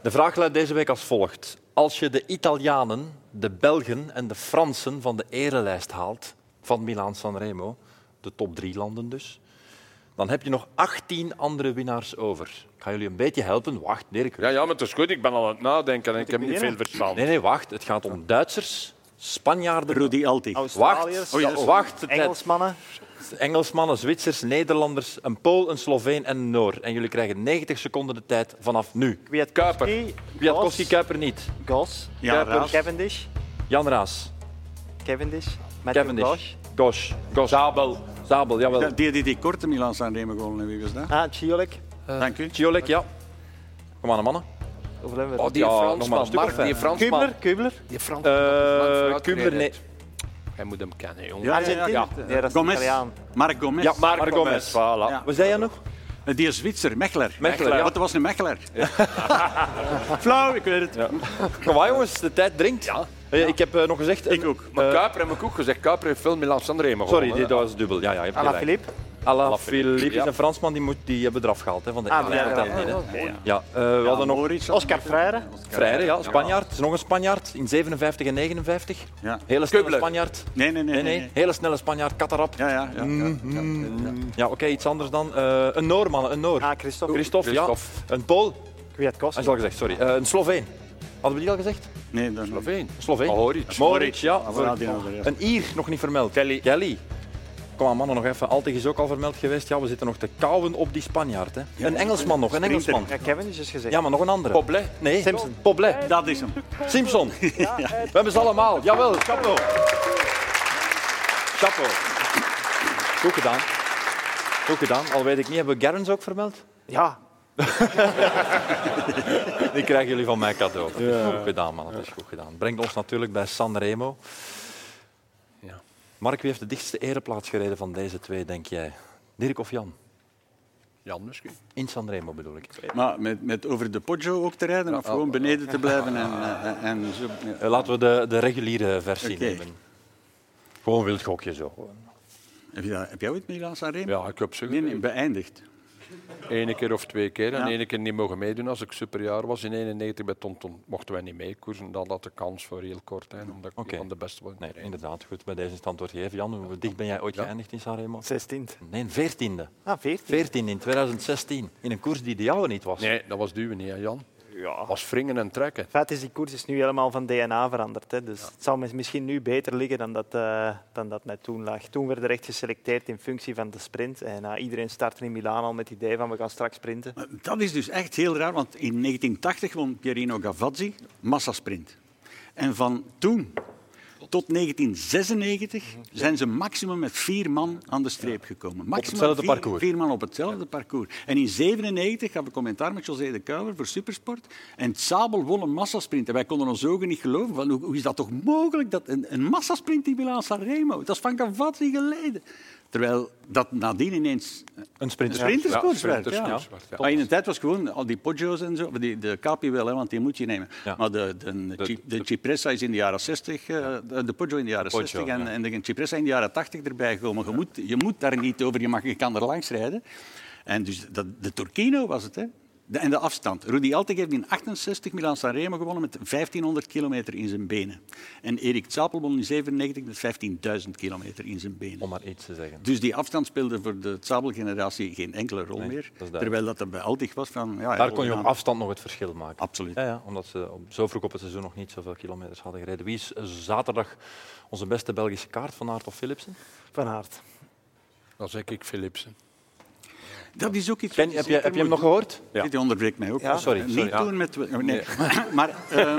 De vraag luidt deze week als volgt. Als je de Italianen, de Belgen en de Fransen van de erelijst haalt, van Milaan Sanremo, de top drie landen dus, dan heb je nog 18 andere winnaars over. Ik ga jullie een beetje helpen. Wacht, Dirk.
Ja, ja, maar het is goed, ik ben al aan het nadenken en ik heb niet veel
beginnen?
verstand.
Nee, nee, wacht. Het gaat om Duitsers, Spanjaarden,
Rudy Altig.
wacht,
Australiërs,
oh, ja, wacht, de tijd.
Engelsmannen.
Engelsmannen, Zwitsers, Nederlanders, een Pool, een Sloveen en een Noor. En jullie krijgen 90 seconden de tijd vanaf nu.
Kwiatkowski,
Kwiatkowski Kuiper niet.
Gos,
Ja, Raas.
Cavendish,
Jan Raas,
Cavendish, Matthew
Cavendish,
Gauche.
Gosh, Gosh. Zabel. Zabel, jawel.
Die die die korte Milan Sanremo gewonnen hebben, wie was dat?
Ah, Ciolek.
Dank u.
Ciolek, ja. Kom aan, mannen.
Hoeveel hebben we
Oh,
er?
die
Ja, nog maar een
Fransman,
stuk of
Mark, die
vijf.
Fransman.
Kubler, Kubler.
Die Fransman. dat is lang
Eh
vooruit
Kubler,
gereden.
Eh, nee.
Hij moet hem kennen, jongen.
Ja, ja, ja, ja.
Nee, dat is
Gomez.
Italiaan.
Marc Gomez.
Ja, Marc Gomez. Voilà.
Ja.
Wat zei jij nog?
Die is Zwitser, Mechler.
Mechler, ja.
Wat was een Mechler? Flauw, ik weet het.
Kom maar jongens, de tijd dringt. Eh, Ik heb eh, nog gezegd... Ik ook.
Maar Kuiper heb ik ook gezegd. Kuiper heeft veel Milan Sanremo
sorry,
gewonnen,
dit dat was dubbel. Ja, ja, je hebt
Ala
gelijk.
Philippe.
Ala Philippe is
Ja.
een Fransman, die, moet, die hebben eraf gehaald hè, van de
Ah, die
EK.
hebben eraf
Ja,
gehaald.
ja, ja. Ja, eh, we hadden nog
Oscar Freire.
Freire, ja, Spanjaard. is nog een Spanjaard in 57 en 59.
Ja.
Hele snelle
Kubler.
Spanjaard.
Nee, nee, nee.
Nee,
nee,
nee, hele snelle Spanjaard, Katarap.
Ja, ja, ja, ja, ja, ja.
Ja, oké, iets anders dan. Eh, een Noor, man, een Noor.
Ah, Christophe.
Christophe, ja.
Christophe.
Een Pool,
Kwiatkowski.
hij is al gezegd, sorry. Eh, een Sloveen. Hadden we die al gezegd?
Nee, dat is nog.
Veen.
Een Sloveen.
Mohoric.
Mohoric, ja.
Ah, voilà, die hadden we eerst.
Een Ier, nog niet vermeld.
Kelly.
Kom aan, mannen, nog even. Altig is ook al vermeld geweest. Ja, we zitten nog te kauwen op die Spanjaard. Hè. een Engelsman nog, een
Sprinter.
Engelsman.
Ja, Kevin is dus gezegd.
Ja, maar nog een andere.
Poblet.
Nee, Simpson. Poblet.
Dat is hem.
Simpson. *laughs* We hebben ze allemaal. Jawel, chapeau. Chapeau. Goed gedaan. Goed gedaan. Al weet ik niet, hebben we Gerrans ook vermeld?
Ja.
Die krijgen jullie van mij cadeau. Dat is goed gedaan, man. Dat is goed gedaan. Brengt ons natuurlijk bij Sanremo.
Ja.
Mark, wie heeft de dichtste ereplaats gereden van deze twee, denk jij? Dirk of Jan?
Jan misschien.
In Sanremo bedoel ik.
Maar met, met over de Poggio ook te rijden of
Oh,
gewoon beneden te
*laughs*
blijven en, eh, en zo. ja.
Eh, Laten we de, de reguliere versie
Oké.
nemen. Gewoon wild gokje zo.
Heb, je dat- heb jij ooit Milan Sanremo?
Ja, ik heb ze
Nee, nee, beëindigd.
Eén keer of twee keer. En
Ja.
één keer niet mogen meedoen. Als ik superjaar was in 91 bij Tonton, mochten wij niet meekoersen. Dan had de kans voor heel kort zijn, omdat ik
Oké.
van de beste was.
Nee, inderdaad. Goed, bij deze standwoord geven. Jan, hoe dicht ben jij ooit geëindigd in Sanremo?
16.
Nee, veertiende.
Ah, 14.
14 in 2016. In een koers die de jouwe niet was.
Nee, dat was duwen niet, hè, Jan.
Ja.
Dat was wringen en trekken.
Het feit is, die koers is nu helemaal van DNA veranderd. Hè. Dus het zal mis- misschien nu beter liggen dan dat, eh, dan dat net toen lag. Toen werd er echt geselecteerd in functie van de sprint. En eh, iedereen startte in Milaan al met het idee van we gaan straks sprinten.
Maar Dat is dus echt heel raar, want in 1980 won Pierino Gavazzi massasprint. En van toen tot 1996 zijn ze maximum met vier man aan de streep gekomen. Maximum
hetzelfde
vier,
parcours.
Vier man op hetzelfde parcours. En in 1997 hadden we commentaar met José de Kuiver voor Supersport. En het Sabel won een massasprint. En wij konden ons ogen niet geloven. Van, hoe, hoe is dat toch mogelijk? Dat een, een massasprint in Milaan-Sanremo. Dat is van Gavazzi geleden. Terwijl dat nadien ineens
Een sprinter.
een sprinterskoers
Ja,
werd,
sprinterskoers
ja.
werd, ja.
Maar in de tijd was gewoon al die Poggio's en zo, die, de Capi wel, hè, want die moet je nemen.
Ja.
Maar de, de, de, de Cipressa is in de jaren 60, eh, de, de Poggio in de jaren
Poggio,
60 en, en de Cipressa in de jaren 80 erbij gekomen. Je moet, je moet daar niet over, je, mag, je kan er langs rijden. En dus dat, de Turkino was het, hè. De- en de afstand. Rudy Alteg heeft in 68 Milan Sanremo gewonnen met 1500 kilometer in zijn benen. En Erik Zapel won in 97 met 15.000 kilometer in zijn benen.
Om maar iets te zeggen.
Dus die afstand speelde voor de Zabel-generatie geen enkele rol
Nee, dat
meer.
is duidelijk.
terwijl dat er bij Altig was van... Ja,
Daar kon je op
ja,
afstand nog het verschil maken.
Absoluut.
Ja, ja, omdat ze op- zo vroeg op het seizoen nog niet zoveel kilometers hadden gereden. Wie is eh, zaterdag onze beste Belgische kaart van Aert of Philipsen?
Van Aert.
Dan zeg ik Philipsen.
Dat is ook iets...
Ken, heb, je, heb je hem nog gehoord?
Ja. Dit onderbreekt mij ook.
Ja.
Sorry,
Niet
sorry, ja.
doen met... Nee. *laughs* maar eh,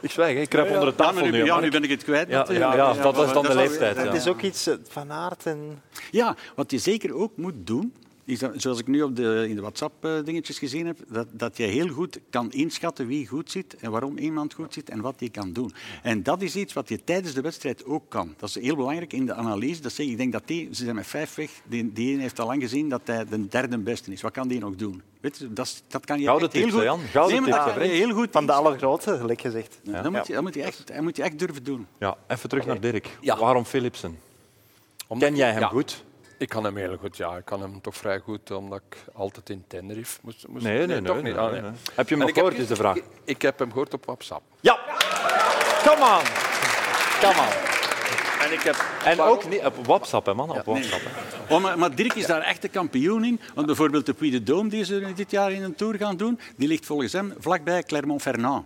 Ik zwijg, hè. ik kruip onder de
ja,
tafel
nu,
nu.
ja,
hè,
nu
Mark.
ben ik het kwijt.
Ja,
natuurlijk.
ja, ja, dat was
maar
dan de
is-
leeftijd,
dat
ja.
Het
is-
is ook iets eh, van Aert en...
Ja, wat je zeker ook moet doen, is dat, zoals ik nu op de, in de WhatsApp-dingetjes gezien heb, dat, dat je heel goed kan inschatten wie goed zit en waarom iemand goed zit en wat die kan doen. En dat is iets wat je tijdens de wedstrijd ook kan. Dat is heel belangrijk in de analyse. Dat zeg, ik ik denk dat die, ze zijn met vijf weg, die, die een heeft al lang gezien dat hij de derde beste is. Wat kan die nog doen? Weet je, dat, is- dat kan je
Gouden
echt heel
tips,
goed...
hè, Jan? Gouden
nee, maar dat
tips,
kan je heel goed
Van de allergrootste, gelijk gezegd.
Dat moet je, dat moet je, echt, dat moet je echt durven doen.
Ja, even terug naar Dirk.
Ja.
Waarom Philipsen?
Omdat-
Ken jij hem
Ja.
goed?
Ik kan hem heel goed, ja. Ik kan hem toch vrij goed, omdat ik altijd in Tenerife moest. moest
Nee, nee, nee.
toch
nee,
niet.
nee,
Ah, nee.
nee. Heb je hem
En
nog
ik heb-
gehoord, is de vraag.
Ik, ik heb hem gehoord op WhatsApp.
Ja! Come on! Come on.
En ik heb...
En ook niet, op WhatsApp, hè, man. Op WhatsApp. hè.
Oh, maar, maar Dirk is daar echt de kampioen in. Want bijvoorbeeld de Puy de Dôme die ze dit jaar in een tour gaan doen, die ligt volgens hem vlakbij Clermont-Ferrand.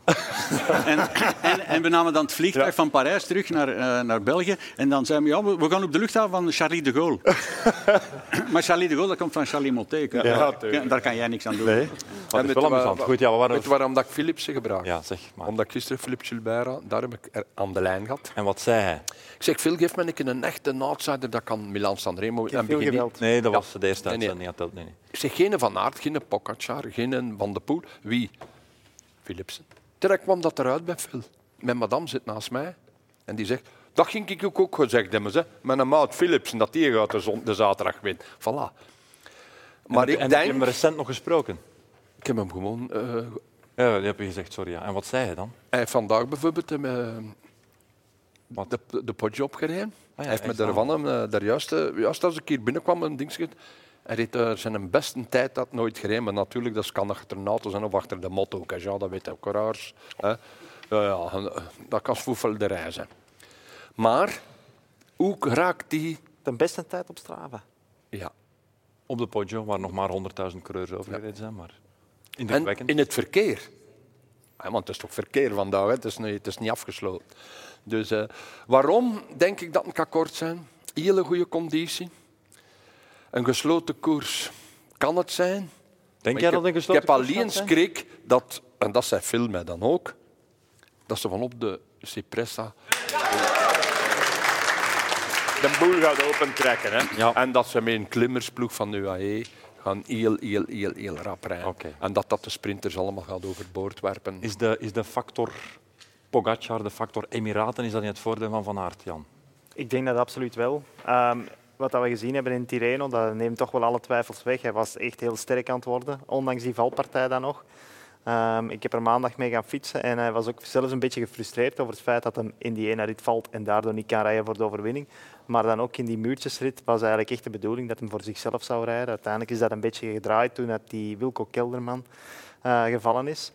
en, en, en we namen dan het vliegtuig van Parijs terug naar, eh, naar België. En dan zeiden we, ja, we, we gaan op de luchthaven van Charlie de Gaulle. maar Charlie de Gaulle, dat komt van Charlie Motet. daar kan jij niks aan doen.
Maar het is wel amusant. Goed, ja, we waren...
Weet je waarom dat ik Philipsen gebruik?
Ja, zeg maar.
Omdat ik gisteren Philip Gilbert had, daar heb ik er aan de lijn gehad.
En wat zei hij?
Ik zeg, Phil, geef me een keer een echte outsider, dat kan Milan Sanremo. En
Veel
begin niet-
geweld.
Nee, dat was de eerste
Nee, nee.
uitzending. Dat telt niet.
Ik zeg, geen Van Aert, geen Pogacar, geen Van de Poel. Wie? Philipsen. Direct kwam dat eruit bij Phil.
Mijn madame zit naast mij en die zegt... Dat ging ik ook, ook gezegd hebben, ze. met een maat Philips, en dat die gaat de, zon, de zaterdag winnen. Voilà. Maar ik
en
denk...
heb je hem recent nog gesproken?
Ik heb hem gewoon... eh,
Ja, dat heb je gezegd, sorry. Ja. En wat zei hij dan?
hij vandaag bijvoorbeeld hem, eh,
Wat? Ah
de, de potje opgereden.
ja,
hij heeft
hij
met
is
daarvan hem, eh, daar juist, eh, juist als ik hier binnenkwam, een dingetje... Hij reed daar zijn beste tijd dat nooit gereden. Maar natuurlijk, dat kan achter een auto zijn of achter de motto. Ja, dat weet ook raars. hè. Ja, ja, en, eh, dat kan sfoefelderij zijn. Maar, hoe raakt die...
De beste tijd op Strava.
Ja,
Op de Poggio, waar nog maar 100.000 coureurs overgereden zijn. Maar
En
indrukwekkend.
in het verkeer. Ja, want het is toch verkeer vandaag, hè? Het, is niet, het is niet afgesloten. Dus eh, waarom denk ik dat een akkoord zijn? Hele goede conditie. Een gesloten koers kan het zijn.
Denk jij
Maar ik
dat een
heb-
gesloten
Ik heb alleen
koers
eens
gaat zijn?
schrik dat, en dat zijn veel mij dan ook, dat ze van op de Cipressa de boel gaat opentrekken. Hè?
Ja.
En dat ze met een klimmersploeg van de UAE gaan heel, heel, heel, heel rap rijden.
Oké.
En dat dat de sprinters allemaal gaat overboord werpen.
Is de, is de factor Pogacar, de factor Emiraten, is dat niet het voordeel van Van Aert, Jan?
Ik denk dat absoluut wel. Ehm, wat dat we gezien hebben in Tirreno, dat neemt toch wel alle twijfels weg. Hij was echt heel sterk aan het worden, ondanks die valpartij dan nog. Ehm, ik heb er maandag mee gaan fietsen en hij was ook zelfs een beetje gefrustreerd over het feit dat hem in die ene rit valt en daardoor niet kan rijden voor de overwinning. Maar dan ook in die muurtjesrit was eigenlijk echt de bedoeling dat hij voor zichzelf zou rijden. Uiteindelijk is dat een beetje gedraaid toen dat die Wilco Kelderman eh, gevallen is.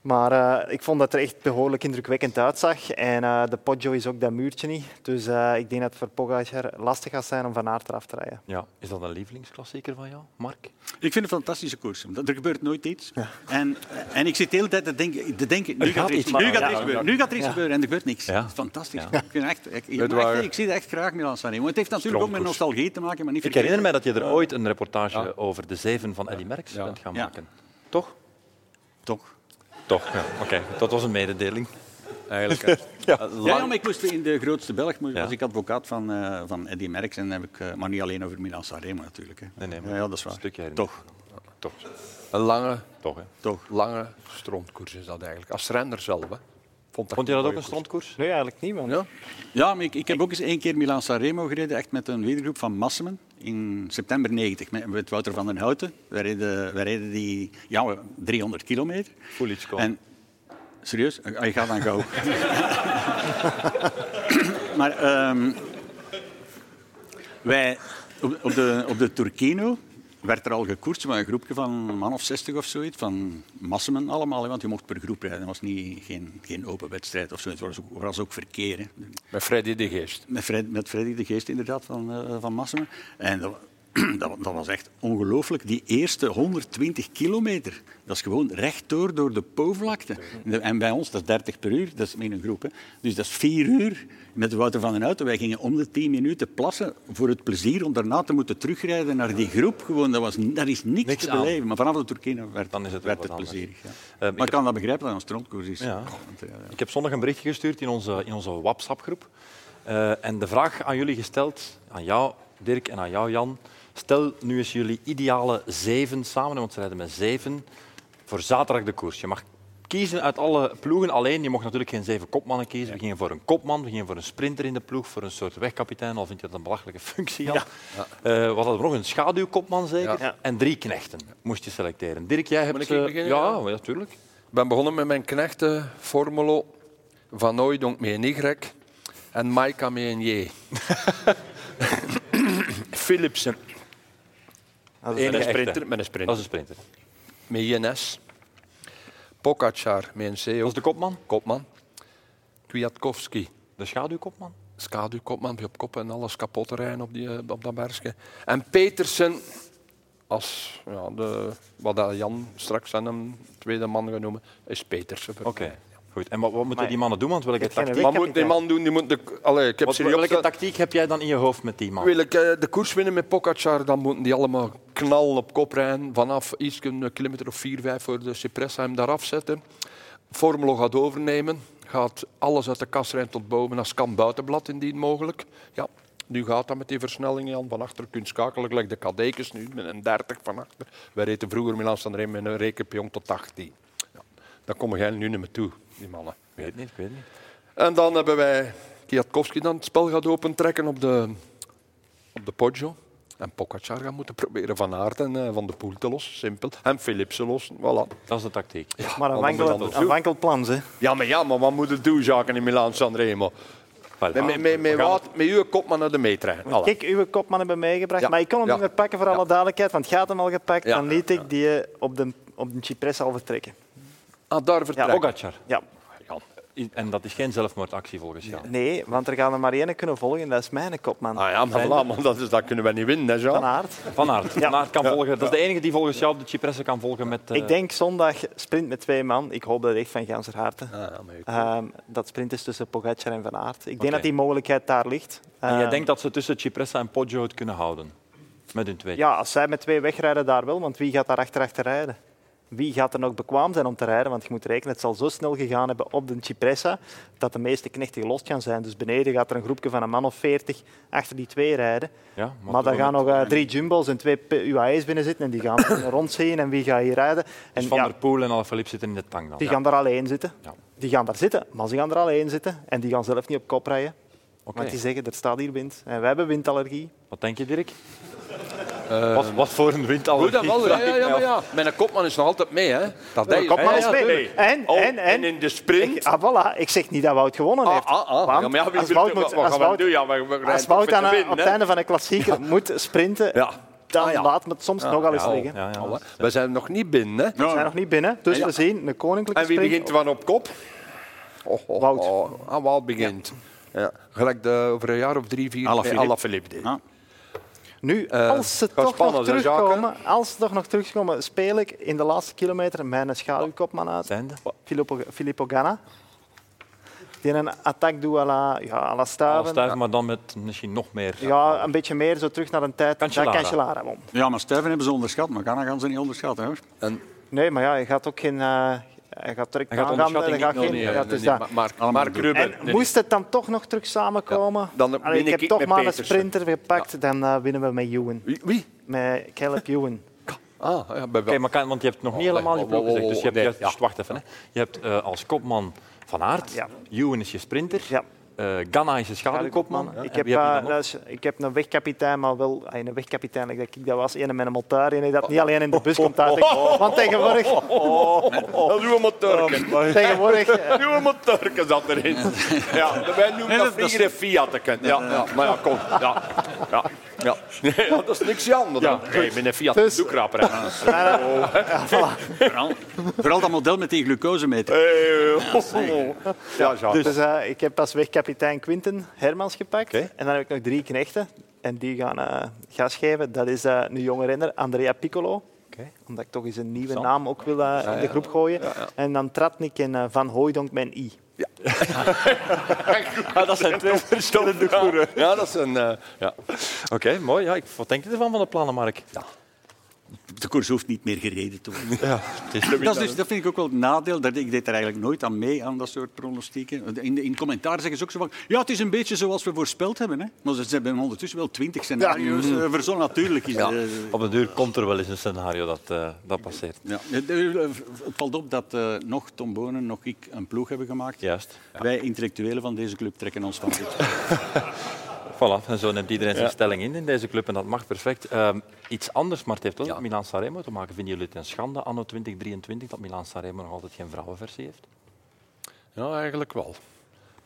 Maar eh, ik vond dat er echt behoorlijk indrukwekkend uitzag. En eh, de Poggio is ook dat muurtje niet. Dus eh, ik denk dat het voor Pogacar lastig gaat zijn om Van Aert eraf te rijden.
Ja. Is dat een lievelingsklassieker van jou, Mark?
Ik vind het een fantastische koers. want Er gebeurt nooit iets. En, en ik zit de hele tijd te denken, te denken nu, gaat er iets, nu gaat er iets gebeuren. Nu gaat er iets gebeuren en er gebeurt niks. Dat is fantastisch. Ik, vind echt, ik, ik, maar echt, ik zie het echt graag Milan Sanremo. Het heeft natuurlijk ook met
Stroomkoers.
nostalgie te maken, maar niet
Ik
vergeten.
herinner mij dat je er ooit een reportage over de zeven van Eddy Merckx
Eh, Ja.
bent gaan
Ja.
maken. Toch?
Toch.
Toch, ja. Oké, dat was een mededeling.
Eigenlijk.
Ja, ja, maar ik moest in de grootste Belg moest,
Ja.
was ik advocaat van, eh van Eddy Merckx. En heb ik, eh, maar niet alleen over Milan Sanremo natuurlijk. Hè.
Nee, nee, maar
ja, ja, dat is waar.
een stukje herinnering.
Toch.
Toch.
Een lange,
Toch, hè.
Toch.
lange strontkoers is dat eigenlijk. Als renner zelf. Hè. Vond,
Vond je dat ook een
stront?
strandkoers?
Nee, eigenlijk niet. Want...
Ja.
Ja, maar ik, ik heb ook eens één keer Milan Sanremo gereden, echt met een wedergroep van Massemen in september 90 met, met Wouter van den Houten. Wij reden, wij reden die ja, we- 300 kilometer.
Voel iets komen.
En serieus, Ah, je gaat dan gauw. *laughs* maar ehm, wij op, op, de, op de Turkino werd er al gekoerst met een groepje van een man of 60 of zoiets, van Massemen allemaal, hè, want je mocht per groep rijden. Dat was niet, geen, geen open wedstrijd of zo. Het was ook, er was ook verkeer. hè.
Met Freddy de Geest.
Met, Fred, met Freddy de Geest inderdaad van, eh van Massemen. En dat, *clears throat* wa- dat, wa- dat was echt ongelooflijk. Die eerste 120 kilometer, dat is gewoon rechtdoor door de Poovlakte. De- En bij ons, dat is 30 per uur, dat is in een groep. Hè. Dus dat is vier uur met Wouter van den Houten. Wij gingen om de 10 minuten plassen voor het plezier om daarna te moeten terugrijden naar die groep. Gewoon, dat was, n- daar is niks,
Niks
te
aan.
beleven. Maar vanaf de Turkina werd,
Dan is het
werd
wel
het
wat anders. Eh,
plezierig. Ja.
ik
maar ik kan dat begrijpen dat het een strandkoers is.
Ja.
Want, eh,
Ik heb zondag een berichtje gestuurd in onze, in onze WhatsApp-groep. Eh, en de vraag aan jullie gesteld, aan jou Dirk en aan jou Jan. Stel nu eens jullie ideale zeven samen, want ze rijden met zeven, voor zaterdag de koers. Je mag kiezen uit alle ploegen alleen. Je mocht natuurlijk geen zeven kopmannen kiezen. We gingen voor een kopman, we gingen voor een sprinter in de ploeg, voor een soort wegkapitein, al vind je dat een belachelijke functie. Jan. Eh, wat hadden we nog? Een schaduwkopman zeker.
Ja.
En drie knechten moest je selecteren. Dirk, jij hebt...
ik
eh,
beginnen,
ja, ja, tuurlijk.
Ik ben begonnen met mijn knechten Formolo, Van Ooydonk met een Y en Maika met een J. Philipsen,
Dat is-
enige
echte.
sprinter met een sprinter.
Dat is een sprinter.
Met INS. Pogacar met een C.
Dat is de kopman.
kopman. Kwiatkowski,
De schaduwkopman?
schaduwkopman, die op kop en alles kapot rijden op, die, eh, op dat bergje. En Petersen als ja, de, wat dat Jan straks aan hem tweede man genoemd is Petersen.
Oké, goed. En wat, wat moeten
Maar-
die mannen doen? Want welke
Ik heb geen
tactiek,
idee.
Wat moet die man doen? Die moet de, allee, ik heb
wat-
serieus-
welke tactiek heb jij dan in je hoofd met die man?
Wil ik eh, de koers winnen met Pogacar, dan moeten die allemaal knallen op kop rijden. Vanaf iets een kilometer of 4, 5 voor de Cipressa hem daar afzetten. Formelo gaat overnemen. Gaat alles uit de kast rijden tot boven. Als kan buitenblad indien mogelijk. Ja, nu gaat dat met die versnelling, Jan. Van achter kunt schakelen, gelijk de kadekens nu. Met een 30 van achter. Wij reden vroeger Milan Sanremo met een rekenpion tot 18. Ja. Daar komen jij nu niet meer toe, die mannen.
weet niet, ik weet niet.
En dan hebben wij Kwiatkowski dan het spel gaat opentrekken op de, op de Poggio. En Pogacar gaat moeten proberen Van Aert en eh, Van de Poel te lossen. Simpel. En Philipsen lossen. Voilà.
Dat is de tactiek.
Maar een
wat moet je
wankel,
anders
een
doen?
wankel plan, ze.
Ja, maar ja, maar wat moet het doen, Jacques, in Milaan Sanremo?
Wel, ah,
Met, met, met, met, wat? met uw kopman naar de meetrein. Voilà.
Kijk, uw kopman hebben meegebracht,
Ja.
maar ik kon hem
Ja.
niet meer pakken voor alle duidelijkheid, want gaat hem al gepakt,
Ja.
dan liet ik die eh, op de, op de Cypress al vertrekken.
Ah, daar vertrek.
Pogacar.
Ja.
En dat is geen zelfmoordactie volgens jou.
Nee, want er gaan er maar één kunnen volgen, en dat is mijn kopman.
Ah ja, maar voilà, maar dat, is, dat kunnen wij niet winnen, hè,
Van
Jacques?
Aert.
Van Aert. Van Aert kan volgen. Dat is de enige die volgens jou op de Cipresse kan volgen met... eh,
Ik denk zondag sprint met twee man. Ik hoop dat echt van ganser harte.
Ah, ja, maar je-
Ehm, dat sprint is tussen Pogacar en Van Aert. Ik denk
Oké.
dat die mogelijkheid daar ligt.
En jij
Ehm,
denkt dat ze tussen Cipressa en Poggio het kunnen houden? Met hun twee.
Ja, als zij met twee wegrijden, daar wel. Want wie gaat daar achter achter rijden? Wie gaat er nog bekwaam zijn om te rijden? Want je moet rekenen, het zal zo snel gegaan hebben op de Cipressa dat de meeste knechten gelost gaan zijn. Dus beneden gaat er een groepje van een man of veertig achter die twee rijden.
Ja,
Maar,
op
daar
het
gaan nog
moment-
eh, drie jumbo's en twee P- UAE's binnen zitten en die
*coughs*
gaan rondzien en wie gaat hier rijden. En
Dus Van
ja,
der Poel en Alaphilippe zitten in de tang dan.
die gaan daar alleen zitten.
Ja.
Die gaan daar zitten, maar ze gaan er alleen zitten en die gaan zelf niet op kop rijden.
Oké.
Want die zeggen, er staat hier wind. En wij hebben windallergie.
Wat denk je, Dirk? wat, wat voor een wind al.
Eh, Goed dan wel, ja, ja, ja, maar
*laughs*
ja. Mijn kopman is nog altijd mee, hè? Dat
De kopman is mee.
tuurlijk.
En-
Oh,
en- en-
in de sprint.
Ik, ah, voilà. Ik zeg niet dat Wout gewonnen heeft.
Ah, ah, ah.
Want
Ja, maar ja, wie
als
wil-
Wout
wat-
moet-
wat
als
gaan we
Wout-
doen? Ja, we- we rijden
Als
toch
Wout
voor te
aan,
winnen,
op het
hè?
einde van een klassieker moet sprinten,
Ja.
dan
Ah, ja.
laat me het soms nogal eens
ja,
liggen.
ja, ja.
Oh, hè. We zijn nog niet binnen, hè?
We zijn nog niet binnen, dus
Ja.
we zien een koninklijke
En wie
sprint.
begint er van op kop? Oh, oh,
Wout.
Oh. Ah, Wout begint. Ja. Gelijk de, over een jaar of drie, vier
Alaphilippe.
Alaphilippe deed.
Ah.
Nu,
Eh,
als ze
gaat
toch nog
spannend, hè, Jacques,
terugkomen, als ze toch nog terugkomen, speel ik in de laatste kilometer mijn schaduwkopman uit. Oh,
Zijnde?
Filippo, Filippo Ganna. Die een attack doet à la, ja, à la Staven.
Stuiven, maar dan met misschien nog meer.
Ja, een beetje meer, zo terug naar een tijd.
Cancellara.
Dat Cancellara won.
Ja, maar Stuyven hebben ze onderschat, maar Ghana gaan ze niet onderschatten. Hoor.
Nee, maar ja, je gaat ook geen... eh, hij gaat direct
Hij gaat
aangaan,
onderschatting
hij gaat
niet
geen-
doen,
ja,
Nee,
het
nee,
is
nee,
dat.
maar- Mark, Mark Ruben.
En moest het dan toch nog terug samenkomen?
Ja, dan
Allee,
win
ik heb
ik
toch
met
maar een
Petersen.
sprinter gepakt, dan eh, winnen we met Ewan.
Wie? wie?
Met Caleb Ewan.
Ah, ja, bij
Oké, maar kan, want je hebt nog niet helemaal
nee.
je ploeg
Oh, oh, oh,
gezegd. Dus je hebt,
nee,
juist-
ja.
dus wacht even. Hè. Je hebt eh, als kopman Van Aert,
Ja.
Ewan is je sprinter,
Ja.
eh, Ganna is je schaduwkopman. En
Ik heb,
wie heb je
eh,
dan nog?
luister, ik heb een wegkapitein, maar wel ah, een wegkapitein, like dat ik dat was, een met een motor, en dat niet alleen in de bus komt uit. Want tegenwoordig,
Dat is uw motorken.
tegenwoordig eh,
Uw motorken zat erin. *laughs* Ja, wij noemen dat
dat is-
vliegende Fiatken. Ja, ja, maar ja, kom. Ja, ja, ja. Nee, dat is niks anders. Ja, nee, met een Fiat
Dus-
doe ik rapper, hè.
Vooral, vooral dat model met die glucosemeter.
Ja, ja.
Dus eh, ik heb als wegkapitein Quinten Hermans gepakt.
Oké.
En dan heb ik nog drie knechten. En die gaan eh, gas geven. Dat is eh, een jonge renner, Andrea Piccolo.
Oké.
Omdat ik toch eens een nieuwe naam ook wil eh, in de groep gooien. En dan Tratnik en eh, Van Hooydonk met een I.
*laughs* Ja, dat
*laughs*
zijn twee verschillende goeren. Ja, dat is een... eh, ja.
Oké, mooi. Ja, ik, wat denk je ervan van de plannen, Mark?
De koers hoeft niet meer gereden te worden.
Het is-
Dat, is dus, dat vind ik ook wel het nadeel. Dat ik deed er eigenlijk nooit aan mee, aan dat soort pronostieken. In, de, in commentaar zeggen ze ook zo van... Ja, het is een beetje zoals we voorspeld hebben. Hè. Maar ze ze hebben ondertussen wel twintig scenario's eh, verzonnen. Natuurlijk is
Ja.
eh,
Op de duur komt er wel eens een scenario dat, eh, dat passeert.
ja. Het eh, het valt op dat eh nog Tom Bonen, nog ik een ploeg hebben gemaakt.
Juist.
Wij intellectuelen van deze club trekken ons van dit.
Voilà, en zo neemt iedereen zijn stelling in in deze club en dat mag perfect. Ehm, iets anders, maar het heeft wel
Ja.
met Milan Sanremo te maken. Vinden jullie het een schande anno 2023 dat Milan Sanremo nog altijd geen vrouwenversie heeft?
ja, eigenlijk wel.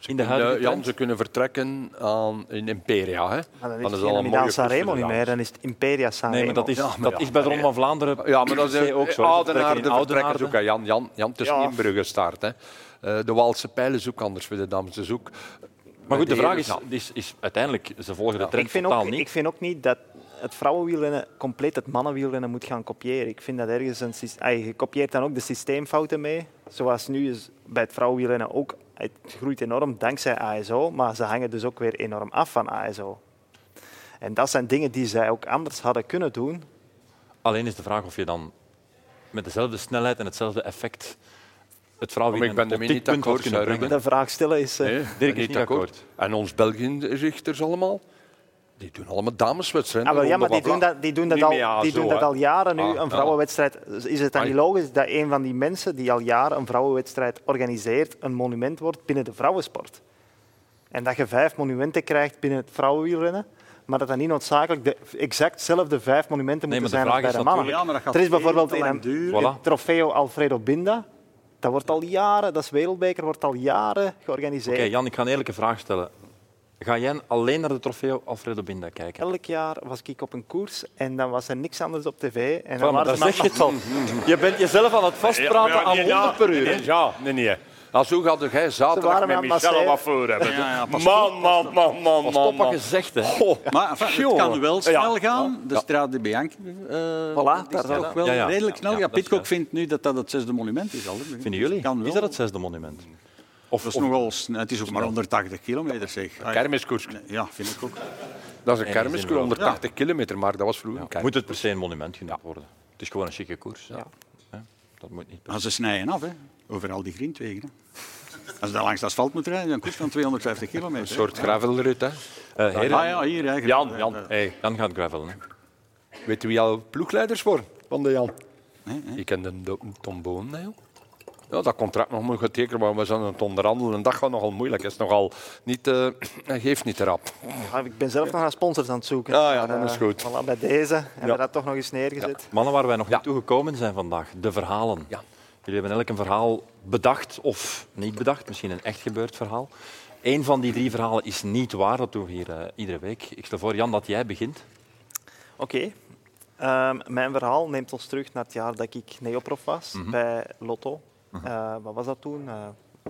In de huidige
Ja, Jan,
trend?
ze kunnen vertrekken aan, in Imperia. Hè.
Maar dan
Dat
is
Ah, is
het
al
geen
een
Milan
mooie
Sanremo
koers
niet
voor de
meer. Dan is het Imperia Sanremo.
Nee, maar dat is, dat is bij de Ronde van Vlaanderen
Ja, maar dat
per se
is
ook zo. hè. Ze
Oudenaarde
trekken in Oudenaarde.
vertrekkers ook. hè. Jan, Jan, Jan, het is
Ja.
niet in Brugge start. Hè. Eh, de Waalse pijlen zoek anders voor de Damse zoek.
Maar goed, de vraag is,
Ja.
is, is uiteindelijk, ze volgen de trend
ik vind,
totaal
ook,
niet.
ik vind ook niet dat het vrouwenwielrennen compleet het mannenwielrennen moet gaan kopiëren. Ik vind dat ergens een systeem... je kopieert dan ook de systeemfouten mee. Zoals nu is bij het vrouwenwielrennen ook. Het groeit enorm dankzij ASO, maar ze hangen dus ook weer enorm af van ASO. En dat zijn dingen die zij ook anders hadden kunnen doen.
Alleen is de vraag of je dan met dezelfde snelheid en hetzelfde effect het vrouwenwiel
Maar ik ben
op
ermee
dit
niet
punt wordt
akkoord,
kunnen
hè,
brengen.
De vraag stellen is... eh,
Nee,
Dirk
ben
is niet akkoord.
En ons België-richters allemaal? Die doen allemaal dameswedstrijden.
Ah, wel, ja,
Ronde
maar die
van
doen
Vla-
dat, die doen dat,
Niet
al,
meer, ja,
die
zo,
doen dat
hè.
al jaren nu,
Ah, ja.
een vrouwenwedstrijd. Is het dan
Ai.
niet logisch dat een van die mensen die al jaren een vrouwenwedstrijd organiseert, een monument wordt binnen de vrouwensport? En dat je vijf monumenten krijgt binnen het vrouwenwielrennen, maar dat dat niet noodzakelijk de exactzelfde vijf monumenten
Nee,
moeten
maar
zijn
de
als
vraag
bij de
is
mannen.
natuurlijk-
Ja, maar dat gaat
er is bijvoorbeeld
veel
in
te
een
lang duren.
Voilà.
het trofeo Alfredo Binda. Dat wordt al jaren, dat is wereldbeker, wordt al jaren georganiseerd.
Oké, Jan, ik ga een eerlijke vraag stellen. Ga jij alleen naar de trofee Alfredo Binda kijken?
Elk jaar was ik op een koers en dan was er niks anders op tv. En
Ja,
dan
maar
waren
daar
ze maar-
zeg je het al. Je bent jezelf aan het vastpraten aan 100 per uur. hè?
Ja, nee, nee.
Ah, zo gaat jij
Ze waren
zaterdag
met
met
aan
Michel.
Marseille.
Zelf wat voor hebben.
Ja, ja, pas
Man, man, man, man, man.
Papa
man.
gezegd, hè?
Maar enfin, het kan wel snel gaan. De Strade de Bianchi eh,
daar
is
zijn
toch wel
Ja, ja.
redelijk snel.
Ja,
Ja,
dat is
Pitcock
juist.
vindt nu dat dat het zesde monument is. Al, hè.
Vinden jullie?
Kan wel.
Is dat het zesde monument?
Of, dat is nogal snel. Het is ook maar 180 kilometer, zeg.
Kermiskoers.
Ja, vind ik ook.
Dat is
die
een
zin
kermiskoers,
wel.
180 kilometer, maar dat was vroeger. een kermis.
Moet het per se een monument genoemd worden? Het is gewoon een chique koers. Ja. Hè? Dat moet niet. per
Maar ze snijden af, hè. Over al die grindwegen. Hè. Als je daar langs het asfalt moet rijden, dan kost van 250 kilometer.
Een soort gravelrit. Hè.
se. Eh,
Ah
heren,
ja, hier. Hè.
Jan, Jan.
hey, Jan gaat gravelen. hè.
Weet u wie al ploegleiders worden van de Jan? Ik ken de Do- Tom Boon, hè, joh. Ja, dat contract nog moet getekend worden. We zijn aan het onderhandelen. En dat gaat nogal moeilijk. Het is nogal niet... eh, hij geeft niet rap.
Ja, Ah, ik ben zelf nog naar sponsors aan het zoeken.
Ah, ja,
Maar,
dat is
eh,
goed.
voilà, bij deze hebben we dat toch nog eens neergezet.
Mannen waar wij nog
Ja.
niet toe gekomen zijn vandaag, de verhalen.
Ja.
Jullie hebben elk een verhaal bedacht of niet bedacht, misschien een echt gebeurd verhaal. Eén van die drie verhalen is niet waar, dat doen we hier eh, iedere week. Ik stel voor, Jan, dat jij begint.
Oké. Ehm, mijn verhaal neemt ons terug naar het jaar dat ik neoprof was
Mhm.
bij Lotto. Eh, wat was dat toen? Eh,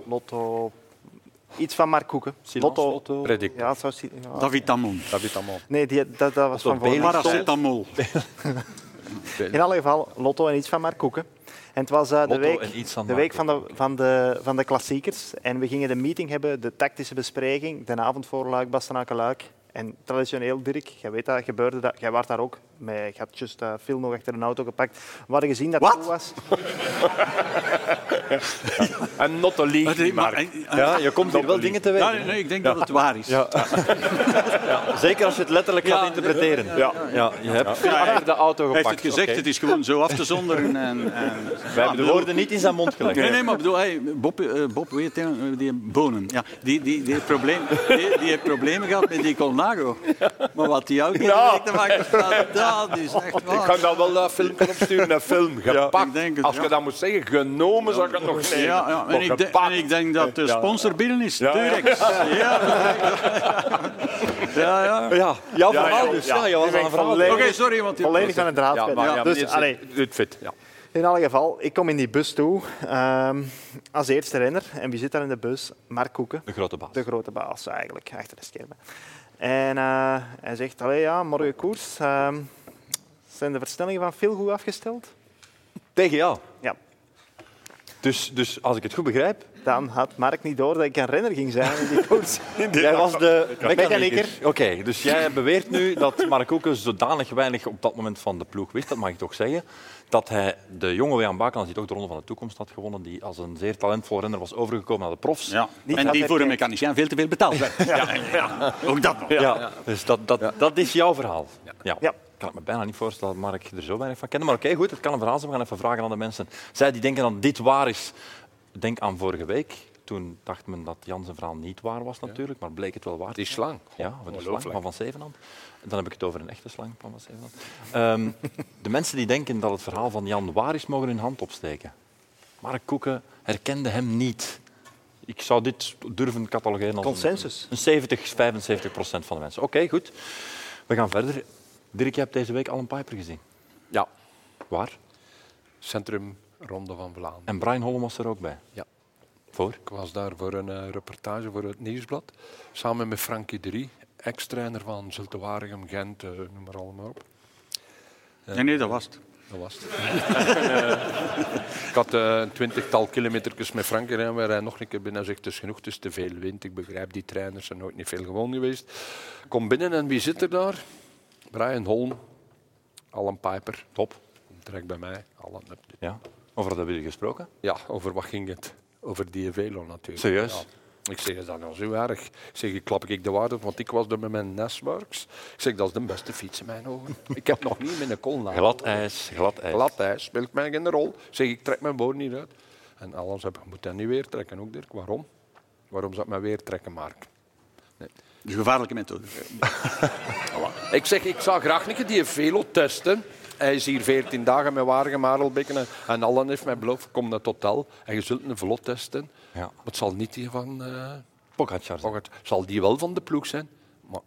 Lotto... Iets van Mark Koeken.
Silence
Lotto.
Lotto.
Predict.
Ja, zo zie- ja.
David Tamon.
Dat weet allemaal.
Nee, die, dat, dat was van vorig jaar.
Paracetamol.
In alle geval, Lotto en iets van Mark Koeken. En het was eh, de
Lotto
week,
en iets van
de,
Mark
week van, de, van, de, van de klassiekers. En we gingen de meeting hebben, de tactische bespreking, de avond voor Luik, Bastenaken Luik. En traditioneel, Dirk, jij weet dat, gebeurde dat. Jij was daar ook. Met, je had just eh, Phil nog achter een auto gepakt. We hadden gezien dat het
Wat?
toe was.
En not a league.
eh, Maar- maar-
Ja, je komt hier wel dingen te
Ja,
weten.
nee, nee, ik denk dat het waar is.
Zeker als je het letterlijk gaat interpreteren. Ja, je hebt achter de auto
Hij
gepakt.
heeft het gezegd,
Oké.
het is gewoon zo af te zonderen. En, en,
Wij hebben de woorden niet in zijn mond gelegd.
Nee, nee, maar bedoel, hey, Bob, eh, Bob weet je, eh, die bonen. Ja, die, die, die, heeft probleem, *laughs* die, die heeft problemen gehad met die Colnago. Maar wat die ook niet
Ja.
te maken staat, dat is echt
Ik
waar.
kan dat wel dat filmpje opsturen, een film.
ik
Gepakt.
denk het,
Als
ja.
je dat moet zeggen, genomen, zou ik het nog nemen.
Ja, ja.
Maar
En, ik de-
gepakt.
en ik denk dat de
Ja.
sponsor binnen is.
Ja, ja.
Durex. Ja, ja. ja.
Ja, jouw
Ja,
verhaal
ja,
dus.
ja.
Ja, je was aan het verhaal.
Oké, sorry, want die-
Volledig aan het draad.
Ja,
kwijt.
maar ja,
dus,
meneer,
allee,
Doet fit, ja.
In alle geval, ik kom in die bus toe ehm, als eerste renner. En wie zit daar in de bus? Mark Koeken.
De grote baas.
De grote baas eigenlijk, achter de schermen. En eh, hij zegt, allee ja, morgen koers. ehm, zijn de versnellingen van Phil goed afgesteld?
Tegen jou.
Ja.
Dus, dus als ik het goed begrijp,
Dan had Mark niet door dat ik een renner ging zijn in die koers.
jij was de
Mechanieker.
mechanieker. Oké, dus jij beweert nu dat Mark Hoeken zodanig weinig op dat moment van de ploeg wist, dat mag ik toch zeggen, dat hij de jonge Jan Bakelands, die toch de Ronde van de Toekomst had gewonnen, die als een zeer talentvol renner was overgekomen naar de profs.
Ja.
Niet
En
dat
die
er
voor een
kijk-
mechanicien veel te veel betaald werd. Ja, ja. Ook dat nog.
Ja, dus dat, dat, dat is jouw verhaal. Ja.
Ja.
Ik kan het me bijna niet voorstellen dat Mark er zo weinig van kende. Maar oké, goed, het kan een verhaal zijn. We gaan even vragen aan de mensen. Zij die denken dat dit waar is, denk aan vorige week. Toen dacht men dat Jan zijn verhaal niet waar was natuurlijk, maar bleek het wel waar.
Die slang.
Ja, over de slang van Van Zevenhand. Dan heb ik het over een echte slang van Van Zevenhand. *laughs* Ehm, de mensen die denken dat het verhaal van Jan waar is, mogen hun hand opsteken. Mark Koeken herkende hem niet. Ik zou dit durven catalogeren als een-
Consensus.
Een 70, 75 procent van de mensen. Oké, goed. We gaan verder. Dirk, je hebt deze week Alan Piper gezien.
Ja.
Waar?
Centrum Ronde van Vlaanderen.
En Brian Holm was er ook bij.
Ja.
Voor?
Ik was daar voor een eh, reportage voor het Nieuwsblad. Samen met Frankie Drie, ex-trainer van Zulte Waregem, Gent, eh, noem maar allemaal op.
Nee, nee, dat was het.
Dat was het. *laughs* ik had eh, een twintigtal kilometertjes met Frank gereden. We rijden nog een keer binnen. Hij zegt, het is genoeg, het is te veel wind. Ik begrijp, die trainers zijn nooit niet veel gewoon geweest. Ik Kom binnen en wie zit er daar? Brian Holm, Alan Piper. Top. Komt direct bij mij. Alan, heb je-
Ja. Over dat hebben jullie gesproken?
ja, over wat ging het? Over die Velo natuurlijk.
Serieus?
Ja. Ik zeg, is dat nou zo erg? Ik zeg, ik klap ik de waarde, want ik was er met mijn Nesworks. Ik zeg, dat is de beste fiets in mijn
*laughs*
ogen. Ik heb nog niet mijn kol laten.
Glad ijs, glad ijs.
Glad ijs, speelt mij geen rol. Ik zeg, ik trek mijn boord niet uit. En alles heb, moet dat niet weer trekken ook, Dirk. Waarom? Waarom zou ik mij weer trekken, Mark? Nee.
Dus gevaarlijke methode.
Voilà. Ik zeg, ik zou graag niet die velo testen. Hij is hier 14 dagen met Wagen, Marelbekken en, en Allen heeft mij beloofd, kom naar het hotel en je zult een vlot testen.
Ja.
Maar het zal niet die van... eh
Pogacar.
Pogacar. Zal die wel van de ploeg zijn, maar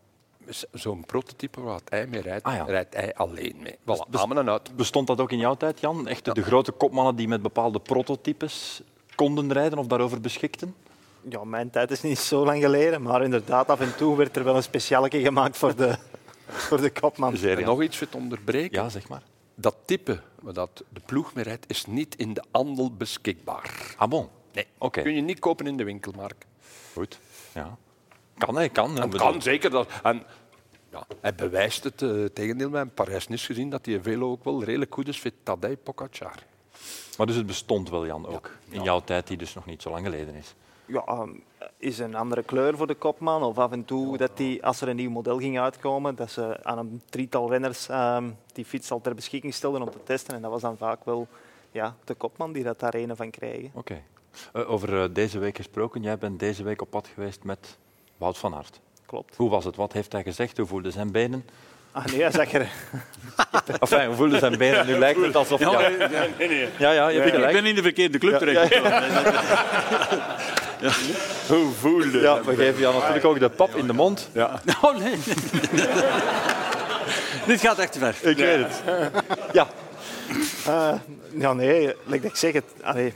z- zo'n prototype waar het hij mee rijdt,
Ah, ja. Dus
rijdt hij alleen mee.
Bes-
Voilà, amen en uit.
Bestond dat ook in jouw tijd, Jan? Echt de, de grote kopmannen die met bepaalde prototypes konden rijden of daarover beschikten?
Ja, mijn tijd is niet zo lang geleden, maar inderdaad, af en toe werd er wel een specialeke gemaakt voor de, voor de kopman.
En nog iets voor het onderbreken.
Ja, zeg maar.
Dat type waar dat de ploeg mee rijdt, is niet in de handel beschikbaar.
Ah bon?
Nee,
Oké.
kun je niet kopen in de winkel, Mark.
Goed. Ja. Kan, hij kan. hè.
Dat
Bedoel-
kan zeker. Dat, en, ja, hij bewijst het eh, tegendeel. We hebben Parijs niet gezien dat die Velo ook wel redelijk goed is voor Tadej Pogacar.
Maar dus het bestond wel, Jan, ook. In jouw tijd, die dus nog niet zo lang geleden is.
Ja, ehm, is een andere kleur voor de kopman. Of af en toe, dat die, als er een nieuw model ging uitkomen, dat ze aan een drietal renners ehm, die fiets al ter beschikking stelden om te testen. En dat was dan vaak wel ja, de kopman die dat daar een van kregen.
Oké. Eh, over eh, deze week gesproken. Jij bent deze week op pad geweest met Wout van Aert.
Klopt.
Hoe was het? Wat heeft hij gezegd? Hoe voelden zijn benen?
Ah nee, hij zag er...
*laughs* Enfin, hoe voelden zijn benen? Nu lijkt het alsof... Ja, ja, ja je hebt
Ik
gelijk.
ben in de verkeerde club terecht.
Hoe voelde Ja, we geven jou natuurlijk ook de pap in de mond.
Ja. Oh, nee. *laughs* Dit gaat echt te ver.
Ik weet het. Ja,
Eh, ja, nee, like dat ik zeg, het, allee,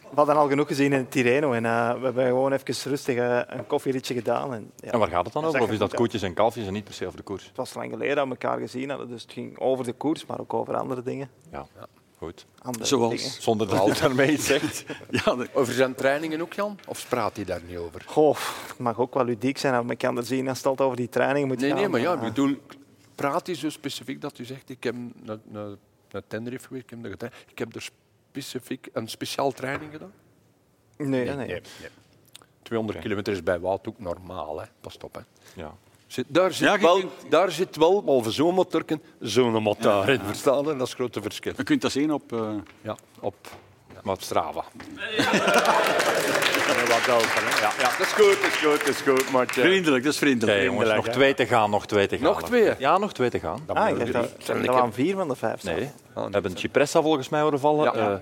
we hadden al genoeg gezien in Tireno en eh, we hebben gewoon even rustig eh, een koffieritje gedaan. En, ja,
en waar gaat het dan
Hij
over? Of
zag er
is
goed
dat
uit.
koetjes en kalfjes en niet per se over de koers?
Het was lang geleden dat we elkaar gezien hadden, dus het ging over de koers, maar ook over andere dingen.
Ja, goed.
Andere dingen.
Zoals.
Zonder dat hij daarmee iets zegt.
Ja, dat-
Over zijn trainingen ook, Jan? Of praat hij daar niet over?
Goh, het mag ook wel ludiek zijn, maar ik kan er zien als het altijd over die training moet
Nee,
gaan.
nee, maar ja, ik
eh,
bedoel, praat hij zo specifiek dat u zegt, ik heb naar, naar, naar Tenerife geweest, ik heb, daar getraind, ik heb er specifiek een speciaal training gedaan?
nee, nee, nee.
200 kilometer is bij Wout ook normaal, hè? Pas op, hè.
Ja.
Zit- daar, zit
Ja, je
wel,
kunt-
daar zit wel, behalve zo'n motorken, zo'n motor in. Verstaan? je? Dat is het grote verschil.
Je kunt dat zien op... eh,
Ja, op
Maar
Strava.
Wat open, hè? Ja, ja, dat is goed, dat is goed, dat is goed. Maar het, eh,
Vriendelijk, dat is vriendelijk.
Oké, jongens, nog twee te gaan, nog twee te gaan.
Nog twee?
Ja, nog twee te gaan.
Ah, ik dacht dat- ik dacht dat we aan vier van de vijf staan.
Nee, we hebben Cipressa volgens mij horen vallen.
Ja.
Eh,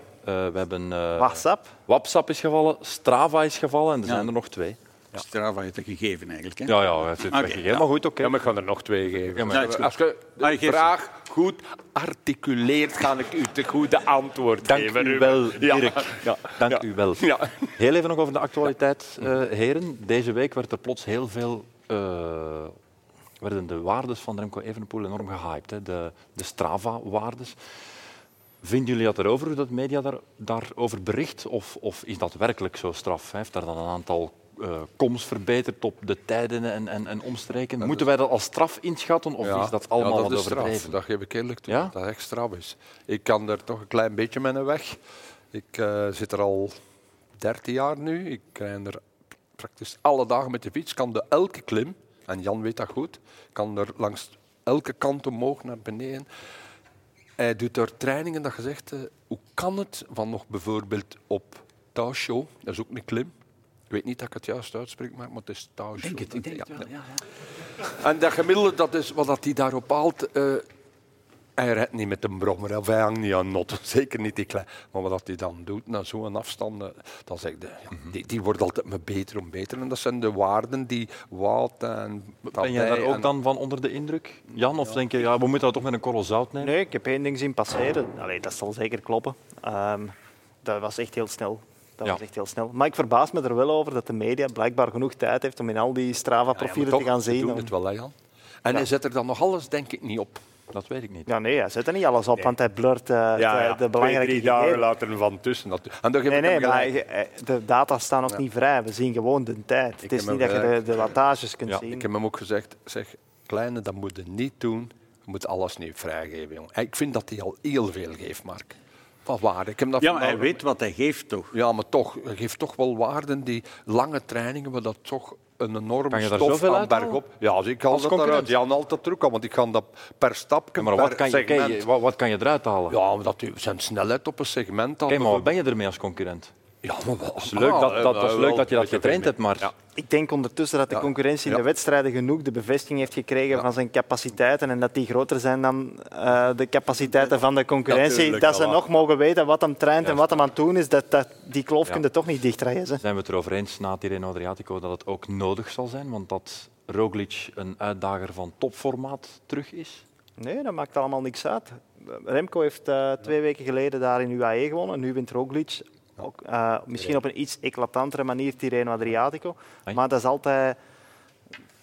eh, we hebben eh,
WhatsApp?
WhatsApp is gevallen, Strava is gevallen en er zijn er nog twee.
Strava heeft dat gegeven eigenlijk. Hè?
Ja, ja, hij heeft het
Oké,
weggegeven,
ja.
maar goed, oké.
Ja, maar ik ga er nog twee geven.
Ja, maar-
Ja, is goed.
Als je de
Ah, je geeft ze.
vraag goed articuleert, ga ik u de goede antwoord
Dank
geven.
u
Ruben.
wel,
Ja.
Dirk. Dank
Ja.
u wel.
Ja.
Heel even nog over de actualiteit, eh, heren. Deze week werd er plots heel veel... eh, werden de waardes van Remco Evenepoel enorm gehyped. Hè? De, de Strava-waardes. Vinden jullie dat erover, hoe dat media daar, daarover bericht? Of, of is dat werkelijk zo straf? Hij heeft daar dan een aantal eh koms verbeterd op de tijden en, en, en omstreken? Moeten wij dat als straf inschatten of
Ja.
is dat allemaal
Ja, dat
wat
is straf.
overdreven?
Dat geef ik eerlijk toe,
Ja?
dat dat echt straf is. Ik kan er toch een klein beetje mee weg. Ik eh, zit er al 13 jaar nu. Ik krijg er praktisch alle dagen met de fiets. Kan de elke klim, en Jan weet dat goed, kan er langs elke kant omhoog naar beneden. Hij doet er trainingen dat gezegd, hoe kan het van nog bijvoorbeeld op Taosho, dat is ook een klim. Ik weet niet dat ik het juist uitspreek, maar maar het is Taosho. Denk het, ik denk het wel, En dat gemiddelde, dat is wat dat hij daarop haalt, eh, hij redt niet met een brommer of hij hangt niet aan noten. *laughs* Zeker niet die klein. Maar wat dat hij dan doet na zo'n afstand, eh, dan zeg ik, de- ja,
Mhm.
die, die wordt altijd maar beter en beter. En dat zijn de waarden die Wout en...
Ben jij daar
Tadej
ook
en-
dan van onder de indruk, Jan? Of denk je, ja, we moeten dat toch met een korrel zout nemen?
Nee, ik heb één ding zien passeren. Allee, dat zal zeker kloppen. Ehm, dat was echt heel snel. Dat
Ja.
was echt heel snel. Maar ik verbaas me er wel over dat de media blijkbaar genoeg tijd heeft om in al die Strava-profielen
Ja,
te
maar
gaan
toch,
zien.
Ze doen het wel, hè, Jan. En hij zet er dan nog alles, denk ik, niet op.
Dat weet ik niet.
Ja, nee, hij zet er niet alles op, want hij blurt eh, de- de,
Twee,
belangrijke
drie dagen
gegevens.
later ervan tussen. dat- En dan geef
Nee,
ik hem
nee, maar
gelijk.
hij- hij- de data staan ook niet vrij. We zien gewoon de tijd. het is
heb
niet
hem
dat je de, de wattages kunt
Ja,
zien.
Ik heb hem ook gezegd, zeg, kleine, dat moet je niet doen. Je moet alles niet vrijgeven, jongen. En Ik vind dat hij al heel veel geeft, Mark. van waarde. Ik heb dat
Ja,
van
maar hij
Mauro.
weet wat hij geeft, toch?
Ja, maar toch, het geeft toch wel waarden die lange trainingen, waar dat toch een
Kan
enorme
je daar
stof
zoveel
aan
uithalen?
bergop. Ja, als ik haal
Als
dat
concurrent?
eruit. Die gaan altijd terug, want ik ga dat per stapje,
maar wat
per
kan, je,
segment.
kijk, je- wat, wat kan je eruit halen?
Ja, maar dat u- zijn snelheid op een segment. Dat
Kijk, maar wat ben je ermee als concurrent?
Ja, maar wel.
Dat is leuk dat, dat, dat, is leuk dat je dat getraind hebt, maar
Ik denk ondertussen dat de concurrentie in de wedstrijden genoeg de bevestiging heeft gekregen van zijn capaciteiten en dat die groter zijn dan eh, de capaciteiten van de concurrentie.
Natuurlijk,
dat ze
voilà.
nog mogen weten wat hem traint en wat hem aan het doen is. Dat, dat, die kloof
Ja.
kun je toch niet dichtdraaien. Ze.
zijn we het erover eens na het hier in Adriatico dat het ook nodig zal zijn, want dat Roglic een uitdager van topformaat terug is?
Nee, dat maakt allemaal niks uit. Remco heeft eh, twee weken geleden daar in UAE gewonnen. Nu wint Roglic. Ook, eh, misschien op een iets eclatantere manier Tirreno Adriatico.
Hoi.
Maar dat is altijd...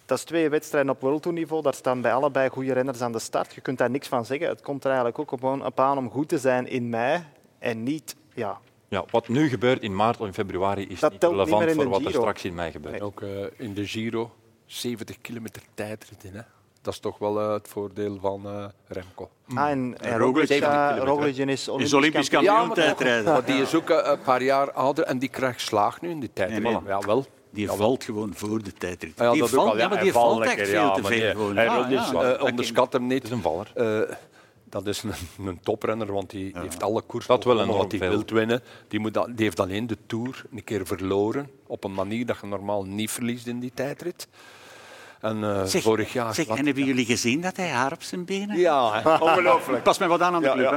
Dat is twee wedstrijden op World Tour niveau. Daar staan bij allebei goede renners aan de start. Je kunt daar niks van zeggen. Het komt er eigenlijk ook op aan- op aan om goed te zijn in mei. En niet... Ja,
Ja, wat nu gebeurt in maart of in februari is
Dat
niet
telt niet
relevant
meer in
voor
de
wat er
Giro.
straks in mei gebeurt.
Ook eh, in de Giro 70 kilometer tijdrit in. Hè? Dat is toch wel eh, het voordeel van eh, Remco.
Ah, en, en
Roglic
Roglic, eh,
70 kilometer.
Roglic is Olympisch,
Olympisch kampioen
maar toch.
tijdrijden.
Maar die is ook eh, een paar jaar ouder en die krijgt slaag nu in die tijd.
Nee, nee.
Ja, wel.
Die valt gewoon voor de tijdrit.
Ah, ja,
die
dat ook al.
valt, ja,
Ja,
maar
hij
die
valt
valt echt
lekker,
veel
ja,
te
maar
veel.
die-
gewoon. Ah,
hij
Ja,
wil
ja.
dus, eh, onderschat hem niet. Het is een valler. Eh, dat is een, een toprenner, want die, die heeft alle koers
Dat wel
gewonnen wat
enorm
hij
veel.
wil winnen. Die, moet dat, die heeft alleen de Tour een keer verloren. Op een manier dat je normaal niet verliest in die tijdrit. En eh,
Zeg,
vorig jaar...
zeg,
wat-
en hebben jullie gezien dat hij haar op zijn benen
Ja,
*laughs*
hè. Oh,
Ongelooflijk. Pas mij wat aan aan de club.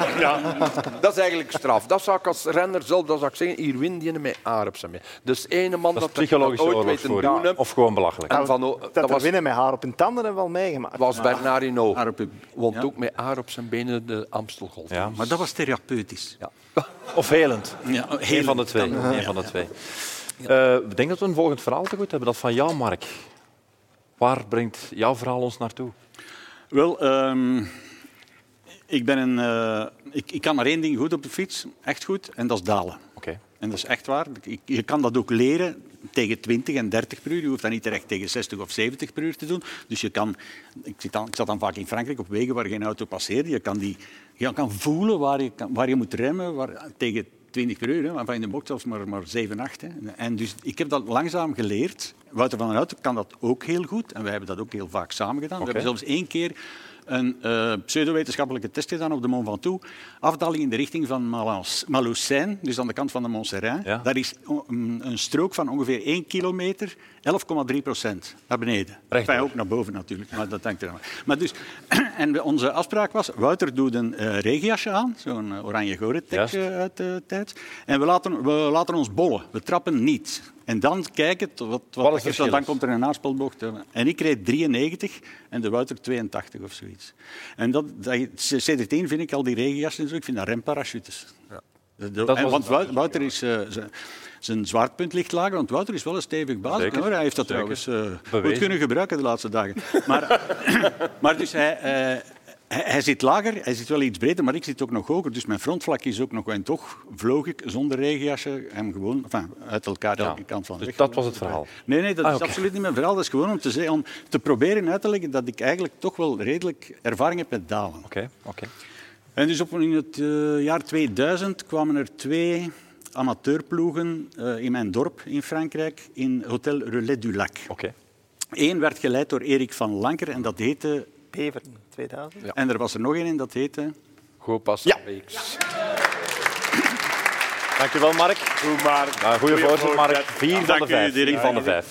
hè.
dat is eigenlijk straf. Dat zou ik als renner zelf dat zou ik zeggen. Hier win je met haar op zijn been. Dus ene man
Dat
dat,
is
dat,
psychologische
ooit weet te
oorlogsvoering.
doen.
Of gewoon belachelijk.
En van, O-
dat,
dat
er
was
winnen met haar op hun tanden hebben we wel meegemaakt.
was Bernardino.
Haar op je-
Want
Ja.
ook met haar op zijn benen de Amstelgolf.
Ja.
Maar dat was therapeutisch.
Of helend.
Ja,
Eén van de twee. Eén van de twee. Eh, ik denk dat we een volgend verhaal te goed hebben. Dat van jou, Mark. Waar brengt jouw verhaal ons naartoe?
Wel, ehm, ik, ben een, eh, ik, ik kan maar één ding goed op de fiets, echt goed, en dat is dalen.
Oké.
En dat is echt waar. Ik- Je kan dat ook leren tegen 20 en 30 per uur. Je hoeft dat niet direct tegen 60 of 70 per uur te doen. Dus je kan, ik, zit dan, ik zat dan vaak in Frankrijk op wegen waar geen auto passeerde. Je kan, die, je kan voelen waar je, kan- waar je moet remmen waar, tegen 20 per uur. Hè. Maar van in de bocht zelfs maar, maar 7, 8. Hè. En dus ik heb dat langzaam geleerd. Wouter van den Houten kan dat ook heel goed. En wij hebben dat ook heel vaak samen gedaan. We hebben zelfs één keer een eh, pseudo-wetenschappelijke test gedaan op de Mont Ventoux. Afdaling in de richting van Malans- Malocène, dus aan de kant van de Mont Serein.
Ja.
Daar is o- een, een strook van ongeveer 1 kilometer, 11,3 procent naar beneden.
Rechtdoor.
Enfin, ook naar boven natuurlijk, maar dat hangt er aan. Maar dus, *clears throat* en we- onze afspraak was, Wouter doet een eh, regenjasje aan, zo'n eh, oranje
Juist.
goretek eh, uit de tijd. En we laten, we laten ons bollen, we trappen niet. En dan kijken, tot wat, wat,
het
wat
verschil
dan
is.
komt er een aanspelbocht. eh, En ik reed 93 en de Wouter 82 of zoiets. En dat, dat, CD10 vind ik al die regenjassen, en zo, ik vind dat rempparachutes. De- de-
Dat
en-
was-
want Wou- Wouter is... eh, z- zijn zwaardpunt ligt lager, want Wouter is wel een stevig baas.
Zeker,
hoor. Hij heeft dat
zeker.
trouwens eh, goed
Bewezen.
kunnen gebruiken de laatste dagen.
*laughs*
Maar, maar dus hij, eh, hij, hij zit lager, hij zit wel iets breder, maar ik zit ook nog hoger. Dus mijn frontvlak is ook nog... En toch vloog ik zonder regenjasje hem gewoon enfin, uit elkaar
Ja.
elke kant van de
Dus
weg.
dat was het verhaal.
Nee, nee, dat
Ah,
is
oké.
absoluut niet mijn verhaal. Dat is gewoon om te, zeggen, om te proberen uit te leggen dat ik eigenlijk toch wel redelijk ervaring heb met dalen.
Oké, oké.
En dus op, in het eh, jaar 2000 kwamen er twee amateurploegen eh, in mijn dorp in Frankrijk in Hotel Relais du Lac.
Oké.
Eén werd geleid door Erik van Lanker en dat heette...
Beveren, 2000.
En er was er nog één en dat heette...
Goed pas. Ja. Weeks.
Dankjewel, Mark. Goed, maar. Goeie voorzet, Mark. Vier van
Dank
de
u,
vijf.
Dirk.
Vier van de vijf.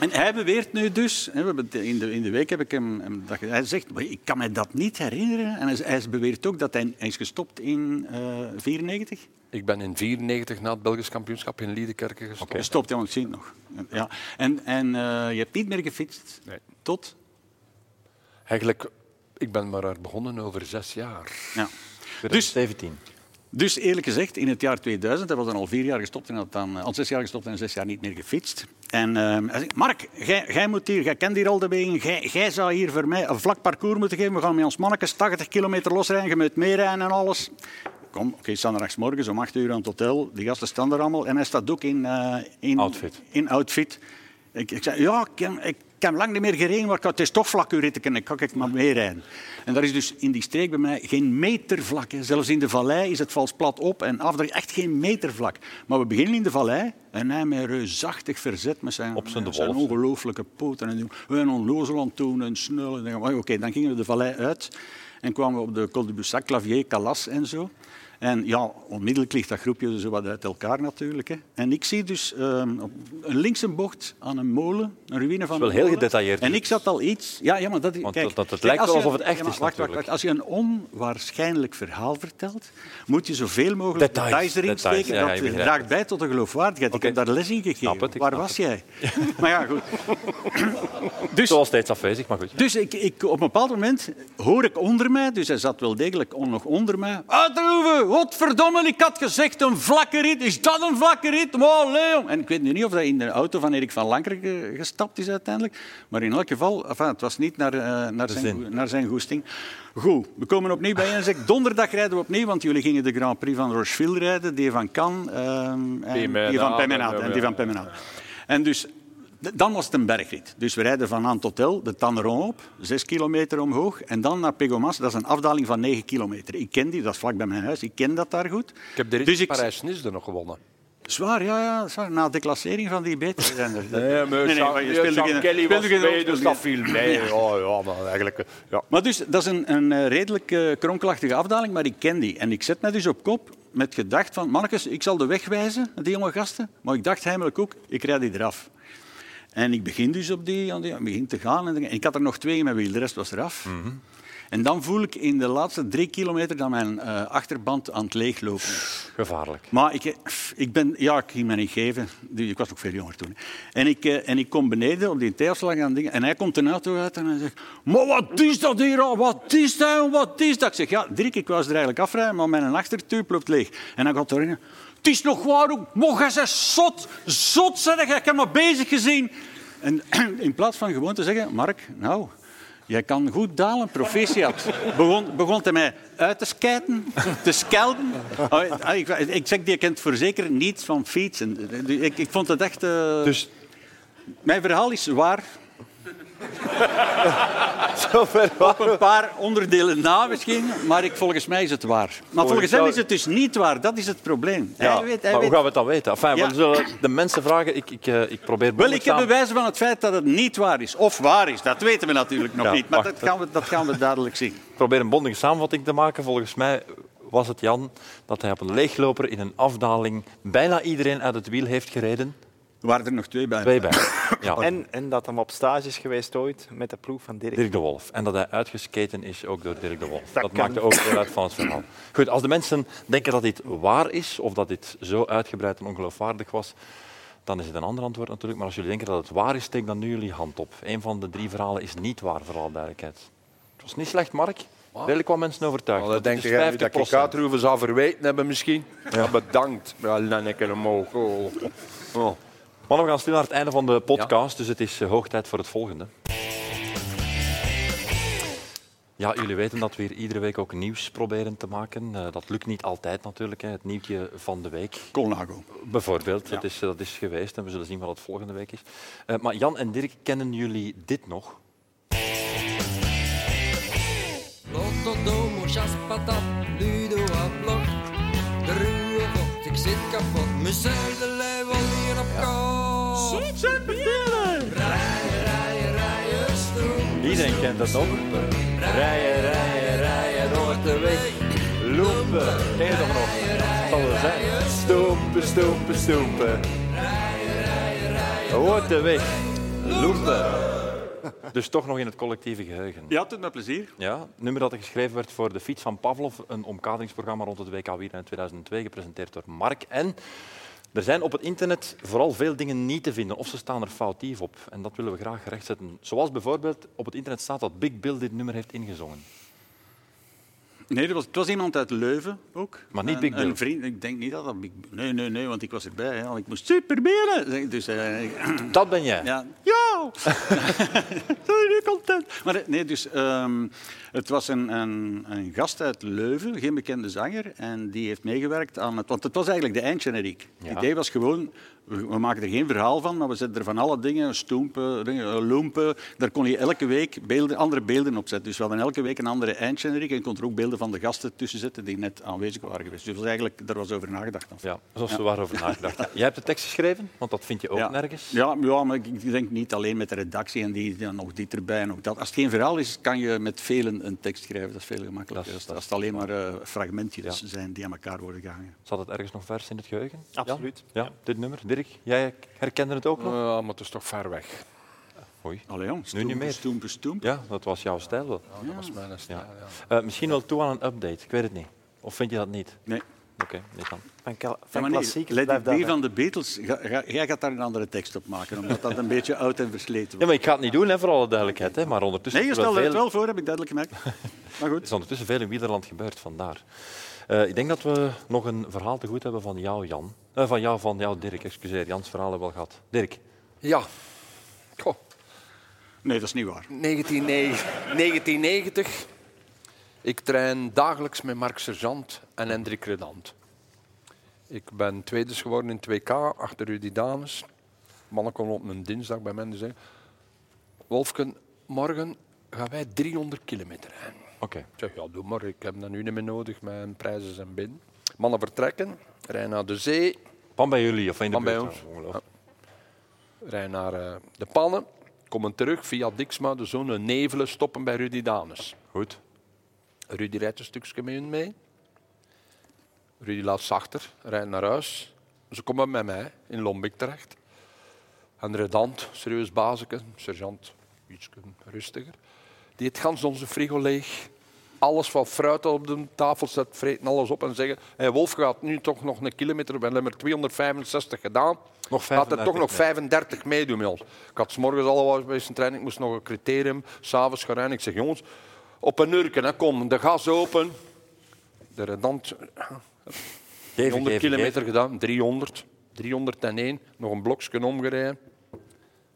En hij beweert nu dus, hè, we hebben het in, de, in de week heb ik hem, hem dat, ge- hij zegt, "Maar ik kan mij dat niet herinneren. En hij, hij beweert ook dat hij, hij is gestopt in eh, 1994.
Ik ben in 94 na het Belgisch kampioenschap in Liedekerke gestopt.
Gestopt, ja, want ik zie het nog. Ja. En, en eh, je hebt niet meer gefietst
Nee.
tot...
Eigenlijk, ik ben maar daar begonnen over zes jaar.
Ja.
Dus 17.
Dus eerlijk gezegd, in het jaar 2000, hij was dan al vier jaar gestopt en had dan eh, al zes jaar gestopt en zes jaar niet meer gefietst. En ehm, hij zegt, Mark, jij jij moet hier, jij kent hier al de wegen, jij- jij zou hier voor mij een vlak parcours moeten geven. We gaan met ons mannetjes 80 kilometer losrijden, je moet meerijden en alles. Kom, oké, zaterdagmorgens om 8 uur aan het hotel, die gasten staan er allemaal. En hij staat ook in, eh, in
Outfit.
in outfit. Ik, ik zei, ja, ik heb, ik heb lang niet meer gereden, maar ik had- het is toch vlak, uw ritken, ik kan ik maar meerijden. En daar is dus in die streek bij mij geen meter vlak. hè. Zelfs in de vallei is het vals plat op en af, er is echt geen meter vlak. Maar we beginnen in de vallei en hij met reusachtig verzet met zijn, op zijn, ongelooflijke poten. En een onlozel aan het doen en snel. En dan- maar Oké, dan gingen we de vallei uit en kwamen we op de Col de Bussac, Clavier, Calas en zo. En ja, onmiddellijk ligt dat groepje zo wat uit elkaar natuurlijk. Hè. En ik zie dus ehm, op een linkse bocht aan een molen, een ruïne van
wel
een
heel
molen.
gedetailleerd,
En ik zat al iets... Ja, ja maar dat...
Want
kijk,
dat- dat het
kijk,
lijkt
als
wel
je-
alsof het echt
maar
is
Wacht, wacht,
natuurlijk.
wacht. Als je een onwaarschijnlijk verhaal vertelt, moet je zoveel mogelijk
Details,
details, erin
details,
steken.
ja, ja,
dat
je begrijpt
draagt bij tot de geloofwaardigheid. Ik heb daar les in gegeven.
Snap het, ik
Waar
snap
was jij? *laughs* maar ja, goed. Dus,
Zoals steeds afwezig, maar goed.
Dus ik, ik, op een bepaald moment hoor ik onder mij, dus hij zat wel degelijk on- nog onder mij. Uitroeven, wat verdomme, ik had gezegd een vlakke rit. Is dat een vlakke rit? Wow, Leon. En ik weet nu niet of dat in de auto van Erik van Lanker eh, gestapt is uiteindelijk. Maar in elk geval, enfin, het was niet naar, eh, naar, zijn,
zin.
goe- naar zijn goesting. Goed, we komen opnieuw bij en zeg donderdag rijden we opnieuw, want jullie gingen de Grand Prix van Rocheville rijden, die van Cannes ehm, en
Pimena,
die van
en,
Pemenade.
eh,
En die van Pemenade. En dus, d- dan was het een bergrit. Dus we rijden van Aan tot El, de Tanneron op, zes kilometer omhoog. En dan naar Pegomas, dat is een afdaling van negen kilometer. Ik ken die, dat is vlak bij mijn huis, ik ken dat daar goed.
Ik heb de rit
Dus ik-
Parijs-Nice er nog gewonnen.
Zwaar, ja, ja, zwaar. Na de klassering van die betere zender.
Nee, maar Sean-
je
ja,
speelde
Sean
geen-
Kelly
speelde
was
geen-
mee, dus dat
speelde
viel
geen-
mee.
Ja.
Ja, ja, maar eigenlijk... eh, Ja.
Maar dus, dat is een, een eh, redelijk eh, kronkelachtige afdaling, maar ik ken die. En ik zet mij dus op kop met gedacht van... Mannetjes, ik zal de weg wijzen, die jonge gasten. Maar ik dacht heimelijk ook, ik rijd die eraf. En ik begin dus op die... Aan die ik begin te gaan. En, ik had er nog twee in mijn wiel, de rest was eraf. En dan voel ik in de laatste drie kilometer dat mijn eh, achterband aan het leeglopen
*laughs*
is.
Gevaarlijk.
Maar ik, eh, ik ben... Ja, ik ging me niet geven. Ik was nog veel jonger toen. En ik, eh, en ik kom beneden op die theeafslag en dingen. En hij komt een auto uit en hij zegt... Maar wat is dat hier? al? Wat is dat? joh? Wat is dat? Ik zeg, ja, Dirk, ik was er eigenlijk afrijden, maar mijn achtertuip loopt leeg. En hij gaat erin. Het is nog waar ook. Mocht jij zot. Zot, zeg. Ik heb maar bezig gezien. En *clears throat* in plaats van gewoon te zeggen... Mark, nou... Jij kan goed dalen, proficiat. Begon, begon hij mij uit te skijten, te skelden. Oh, ik, ik zeg, die kent voor zeker niets van fietsen. Ik, ik vond het echt... eh,
Dus-
Mijn verhaal is waar. Op een paar onderdelen na misschien, maar ik, volgens mij is het waar. Maar volgens hem is het dus niet waar. Dat is het probleem.
Ja,
Hij weet, hij
maar hoe
weet.
gaan we het dan weten? Enfin,
Ja.
we zullen de mensen vragen. Ik, ik, eh, ik probeer
Wel, ik heb
behoorlijk samen-
bewijzen van het feit dat het niet waar is. Of waar is, dat weten we natuurlijk nog
Ja,
niet. Maar
wacht,
dat gaan, we, dat gaan we dadelijk zien.
Ik probeer een bondige samenvatting te maken. Volgens mij was het Jan dat hij op een leegloper in een afdaling bijna iedereen uit het wiel heeft gereden.
Er waren er nog twee bij.
Twee *coughs* bij. Oh, Ja.
En, en dat hem op stage is geweest ooit met de ploeg van Dirk.
Dirk de Wolf. En dat hij uitgesketen is ook door Dirk de Wolf. Dat,
Dat kan.
maakt ook deel uit van het verhaal. Goed, als de mensen denken dat dit waar is, of dat dit zo uitgebreid en ongeloofwaardig was, dan is het een ander antwoord natuurlijk. Maar als jullie denken dat het waar is, steek dan nu jullie hand op. Een van de drie verhalen is niet waar, voor alle duidelijkheid. Het was niet slecht, Mark. Redelijk wat mensen overtuigd.
Dan
Dat
denk
is
jij nu dat
50%.
ik Uitroeven zou verweten hebben misschien? Ja. Bedankt. Ja, Lenneke omhoog. Oh. Oh.
Mannen, we gaan stil naar het einde van de podcast, dus het is eh, hoog tijd voor het volgende. Ja, jullie weten dat we hier iedere week ook nieuws proberen te maken. Eh, dat lukt niet altijd natuurlijk, hè. het nieuwtje van de week.
Colnago.
Bijvoorbeeld, dat, is, eh, dat is geweest en we zullen zien wat het volgende week is. Eh, maar Jan en Dirk, kennen jullie dit nog?
Lotto, domo, chas, patat, ludo, blok. De ruwe vocht, ik zit kapot. Mijn zuilenlijn wil hier op kop. Soms zijn pillen. Rijden, rijden, rijden, stroom.
Iedereen kent dat nog.
Rijden, rijden, rijden, nooit de weg.
Loepen, ken je dat nog? Dat zal er zijn.
Stoempen, stoempen, stoempen.
Hoort de weg. Loepen. Dus toch nog in het collectieve geheugen.
Ja, tot met plezier.
Ja, het nummer dat er geschreven werd voor de fiets van Pavlov, een omkaderingsprogramma rond het WK Wieren in 2002, gepresenteerd door Mark. En er zijn op het internet vooral veel dingen niet te vinden, of ze staan er foutief op. En dat willen we graag rechtzetten. Zoals bijvoorbeeld op het internet staat dat Big Bill dit nummer heeft ingezongen.
Nee, dat was, het was iemand uit Leuven ook.
Maar niet
Een-
Big Bill.
Een vriend. Ik denk niet dat dat Big Bill... Nee, nee, nee, want ik was erbij. Hè, want ik moest superberen. zeg, Dus, eh, ik-
Dat ben jij.
Ja. Ja! *laughs* Zijn jullie content? Maar eh, nee, dus ehm, het was een, een, een gast uit Leuven, geen bekende zanger. En die heeft meegewerkt aan het... Want het was eigenlijk de eindgeneriek.
Ja.
Het idee was gewoon, We, we maken er geen verhaal van, maar we zetten er van alle dingen, stoempen, dingen, eh, loempen. Daar kon je elke week beelden, andere beelden op zetten. Dus we hadden elke week een andere eindgeneriek en je kon er ook beelden van de gasten tussen zetten die net aanwezig waren geweest. Dus dat was eigenlijk, daar was over nagedacht.
Ja, zoals er waren over nagedacht. Jij hebt de tekst geschreven, want dat vind je ook
ja.
nergens.
Ja, ja, maar ik denk niet alleen met de redactie en die, ja, nog dit erbij en ook dat. Als het geen verhaal is, kan je met velen een tekst schrijven. Dat is veel gemakkelijker. Als, als het alleen maar eh, fragmentjes zijn die aan elkaar worden gehangen.
Zat het ergens nog vers in het geheugen?
Absoluut. Eh.
Ja, Ja, dit nummer. Dirk, jij herkende het ook nog?
Ja, maar het is toch ver weg.
Oei.
Allee, jong.
Nu niet meer.
Stoempe, stoempe.
Ja, dat was jouw stijl wel.
Ja, dat was mijn stijl, ja.
Eh, misschien wel toe aan een update, ik weet het niet. Of vind je dat niet?
Nee.
Oké, niet dan.
Van, kla
Ja,
van
maar nee,
klassiek.
Let
blijft
It
dat
Be
weg.
van de Beatles, ga- ga- jij gaat daar een andere tekst op maken, omdat dat een *laughs* beetje oud en versleten
Ja, maar ik ga het niet doen, hè, voor alle duidelijkheid. Hè. Maar
wordt.
ondertussen
Nee, je
is er wel
stelde
veel-
het wel voor, heb ik duidelijk gemerkt. *laughs* Maar goed.
Er is ondertussen veel in Wielerland gebeurd, vandaar. Eh, ik denk dat we nog een verhaal te goed hebben van jou, Jan. Eh, van jou, van jou, Dirk. Excuseer, Jans verhaal hebben we al gehad. Dirk.
Ja.
Nee, dat is niet waar.
1990. 1990. Ik train dagelijks met Mark Sergeant en Hendrik Redant. Ik ben tweede geworden in 2K achter Rudy Dames. Mannen komen op een dinsdag bij mij en zeggen: Wolfken, morgen gaan wij 300 kilometer rijden.
Oké.
Ik zeg, ja, doe maar, ik heb dat nu niet meer nodig, mijn prijzen zijn binnen. Mannen vertrekken, rijden naar de zee.
Van bij jullie of in de
Van bij
buurt,
ons.
ja, ongelooflijk.
Ja. Rijden naar eh, de pannen, komen terug via Diksma, de zon, een nevelen, stoppen bij Rudy Danes.
Goed.
Rudy rijdt een stukje met hun mee. Rudy laat ze achter, rijdt naar huis. Ze komen met mij in Lombik terecht. En de redant, serieus bazeke, sergeant, iets rustiger. Die het gans onze frigo leeg. Alles wat fruit dat op de tafel zet, vreten alles op en zeggen... Hey, Wolf gaat nu toch nog een kilometer, we hebben er 265 gedaan.
Nog
Gaat er toch nog
35 mee.
35 meedoen met ons. Ik had 's morgens al wel bij zijn trein, ik moest nog een criterium. S'avonds gaan rijden. Ik zeg, jongens, op een nurken, hè, kom, de gas open. De redant... 100
geven,
kilometer
geven.
gedaan, 300. 301, nog een blokje omgereden.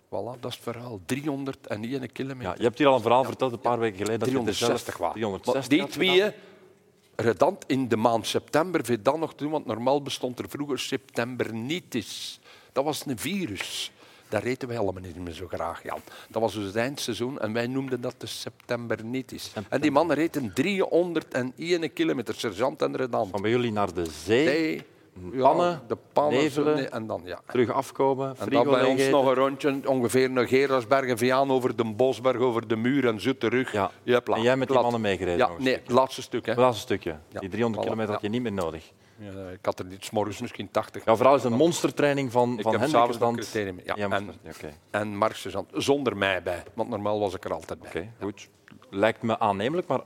Voilà, dat is het verhaal. 301 kilometer.
Ja, je hebt hier al een verhaal verteld een paar weken geleden. Dat je er zelf
360 waren.
360
Maar
had
die twee, redant in de maand september, vind dat nog toe, want normaal bestond er vroeger septembernitis. Dat was een virus. Dat reten wij allemaal niet meer zo graag, Jan. Dat was dus het eindseizoen en wij noemden dat de septembernitis. En die mannen reten 301 kilometer, sergeant en redant.
Van bij jullie naar de zee.
Nee, ja,
pannen,
de pannen,
nevelen,
zo, nee, en dan, ja.
Terug afkomen,
En dan
frigo
bij ons
leegeten.
nog een rondje, ongeveer naar Gerasberg en Viaan over de Bosberg, over de muur en zo terug. Ja.
En jij met die mannen meegereden
Ja,
nog een
nee, het laatste stuk. Hè.
Het laatste stukje.
Ja,
Die 300
voilà,
kilometer had je
ja.
niet meer nodig.
Ja, ik had er dit 's morgens misschien 80.
Jouw verhaal is een monstertraining van,
Ik
van
heb
Hendrik
s'avonds
Resdant.
nog criterium, ja.
Jij moest
En-
nog- oké.
En Mark Sergeant, zonder mij bij, want normaal was ik er altijd bij.
Oké, goed. Lijkt me aannemelijk, maar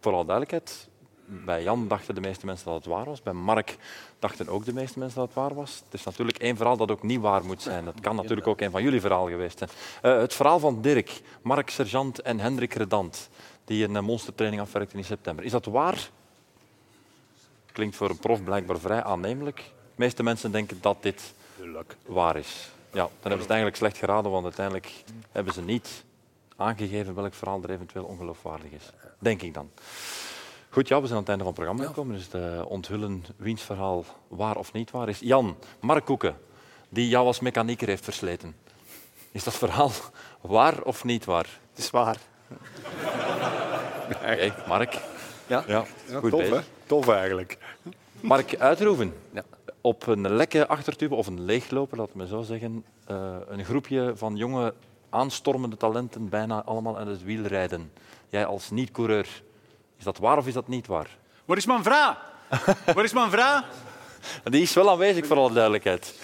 voor alle duidelijkheid, bij Jan dachten de meeste mensen dat het waar was. Bij Mark dachten ook de meeste mensen dat het waar was. Het is natuurlijk één verhaal dat ook niet waar moet zijn. Dat kan natuurlijk ook een van jullie verhaal geweest zijn. Eh, het verhaal van Dirk, Mark Sergeant en Hendrik Redant, die een eh, monstertraining afwerkten in september. Is dat waar? Klinkt voor een prof blijkbaar vrij aannemelijk. De meeste mensen denken dat dit waar is. Ja, dan hebben ze het eigenlijk slecht geraden, want uiteindelijk hebben ze niet aangegeven welk verhaal er eventueel ongeloofwaardig is. Denk ik dan. Goed, ja, we zijn aan het einde van het programma gekomen. Dus de onthullen wiens verhaal waar of niet waar is. Jan, Mark Koeken, die jou als mechanieker heeft versleten. Is dat verhaal waar of niet waar?
Het is waar.
Oké, Mark.
Ja? Ja, tof,
bezig.
hè? Tof eigenlijk.
Mark Uitroeven. Op een lekke achtertube, of een leegloper, laten we zo zeggen. eh, een groepje van jonge aanstormende talenten, bijna allemaal aan het wiel rijden. Jij als niet-coureur, is dat waar of is dat niet waar?
Waar is mijn *laughs* vrouw? Waar is mijn vrouw?
Die is wel aanwezig, voor alle duidelijkheid.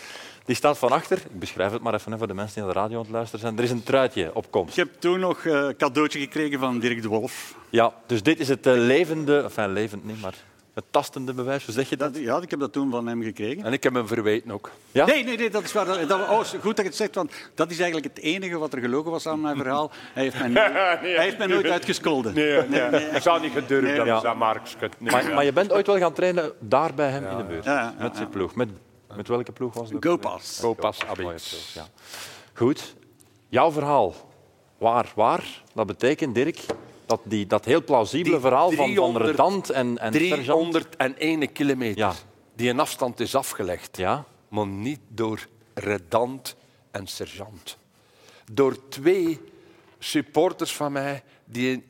Die staat van achter. Ik beschrijf het maar even hè, voor de mensen die aan de radio aan het luisteren zijn. Er is een truitje op komst.
Ik heb toen nog een cadeautje gekregen van Dirk de Wolf.
Ja, dus dit is het eh, levende, enfin levend niet, maar het tastende bewijs. Hoe zeg je dat?
Ja, ik heb dat toen van hem gekregen.
En ik heb hem verweten ook.
Ja?
Nee, nee, nee, dat is waar. Dat, dat- oh, goed dat je het zegt, want dat is eigenlijk het enige wat er gelogen was aan mijn verhaal. Hij heeft
*laughs*
mij, nooit- hij heeft mij nooit uitgeskolden.
Nee,
*laughs*
nee. Ik zou niet gedurfd
Nee.
hebben,
Ja.
dat Marks. Nee.
Maar, maar je bent ooit wel gaan trainen daar bij hem in de buurt.
ja, ja, ja.
met zijn ploeg. Met, met welke ploeg was dat?
GoPass.
GoPass
Mooie ploeg, ja. Goed. Jouw verhaal. Waar, waar? Dat betekent, Dirk, dat, die, dat heel plausibele
Die
verhaal van, van
300
Redant en, en Sergeant-
301 kilometer.
Ja.
Die een afstand is afgelegd.
Ja. Ah,
Maar niet door redant en sergeant. Door twee supporters van mij die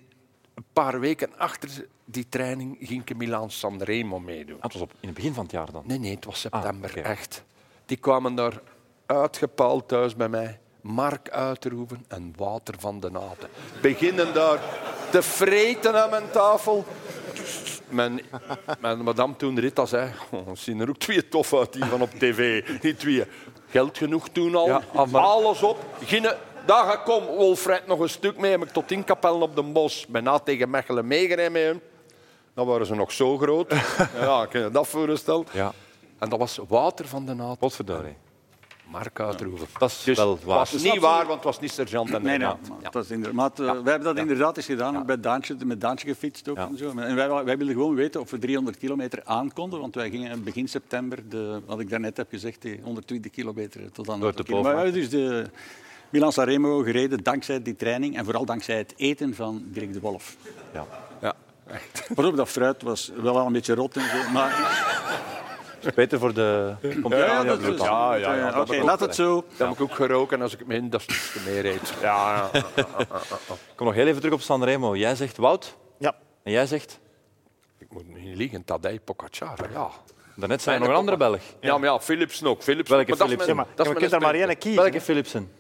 een paar weken achter die training ging Milan Sanremo meedoen.
Dat was op, in het begin van het jaar dan?
Nee, nee, het was september, echt. Die kwamen daar uitgepaald thuis bij mij. Mark Uiterhoeven en Wouter van den Aten. Beginnen daar te vreten aan mijn tafel. Mijn, mijn madame toen Rita zei, oh, zien er ook twee tof uit die van op tv. Die twee. Geld genoeg toen al. Alles op. Gine, daar ga ik kom. Wolfred nog een stuk mee. Heb ik tot in kapellen op den bos. Bijna tegen Mechelen meegereden met hem. Dan waren ze nog zo groot. ja, kun je dat voorstellen?
Ja.
En dat was Wouter van den Aten.
Potverdorie.
Mark Uiterhoeven.
Dat is wel waar.
Dus was niet waar, want het was niet sergeant en
Nee, nee,
Renaat.
maar dat is inderdaad, maar, eh, wij hebben dat inderdaad eens gedaan, bij Daantje, met Daantje gefietst ook. En, zo. en wij, wij wilden gewoon weten of we 300 kilometer aankonden, want wij gingen begin september, de, wat ik daarnet heb gezegd, die 120 kilometer tot aan
Door te
kilo. Maar wij hebben dus de Milan Sanremo gereden dankzij die training en vooral dankzij het eten van Dirk de Wolf.
Ja.
Ja, echt. Waarop dat fruit was wel al een beetje rot en zo, maar...
Beter voor de... Komt
Ja,
er aan,
ja, dat is-
bloed aan.
ja, ja, ja, dat Oké, heb ik laat ook. het zo.
Dat heb ik ook geroken als ik mijn dat stukje meer eet. *laughs* Ja, ja.
Ik kom nog heel even terug op Sanremo. Jij zegt Wout.
Ja.
En jij zegt...
Ik moet niet liegen, Tadej Pogacar. Ja.
Daarnet zijn nog een andere Belg.
Ja, maar ja, Philipsen ook. Philipsen.
Welke
Maar dat is
Philipsen?
mijn-
Ja,
dat is
maar
mijn
je kunt er maar
aspect.
één kiezen,
Welke Philipsen?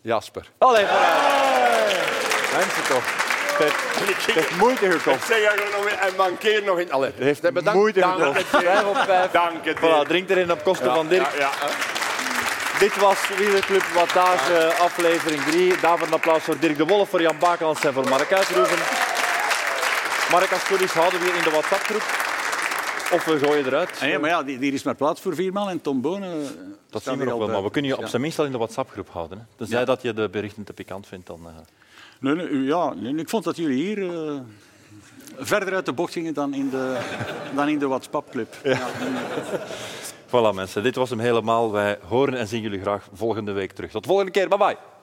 Jasper.
Allee, vooruit. Mensen toch.
Het
heeft moeite
Ik zeg eigenlijk nog in- en mankeer nog in. Allee,
heeft
nee, bedankt.
moeite
Dank
gekost.
het, Dirk.
Vijf op vijf.
Dank het,
Voilà,
Dirk.
drink erin op kosten van Dirk.
Ja, ja, hè.
Dit was Wielerclub Wattage, eh, aflevering 3. Daarvoor een applaus voor Dirk de Wolf, voor Jan Bakelans en voor Mark Uitroeven. Mark, als het goed is, houden we je in de WhatsApp-groep. Of we gooien eruit.
Nee, maar ja, die- hier is maar plaats voor vier man en Tom Bonen... eh,
Dat
staat
zien we
hier
nog
al
wel,
bij.
maar we kunnen je op
Ja.
zijn minst al in de WhatsApp-groep houden. Hè. Tenzij
Ja.
dat je de berichten te pikant vindt, dan... eh,
Nee, nee, u- ja, nee, nee, ik vond dat jullie hier eh, verder uit de bocht gingen dan in de, dan in de WhatsApp-club. Ja.
Voilà mensen, dit was hem helemaal. Wij horen en zien jullie graag volgende week terug. Tot de volgende keer, bye bye.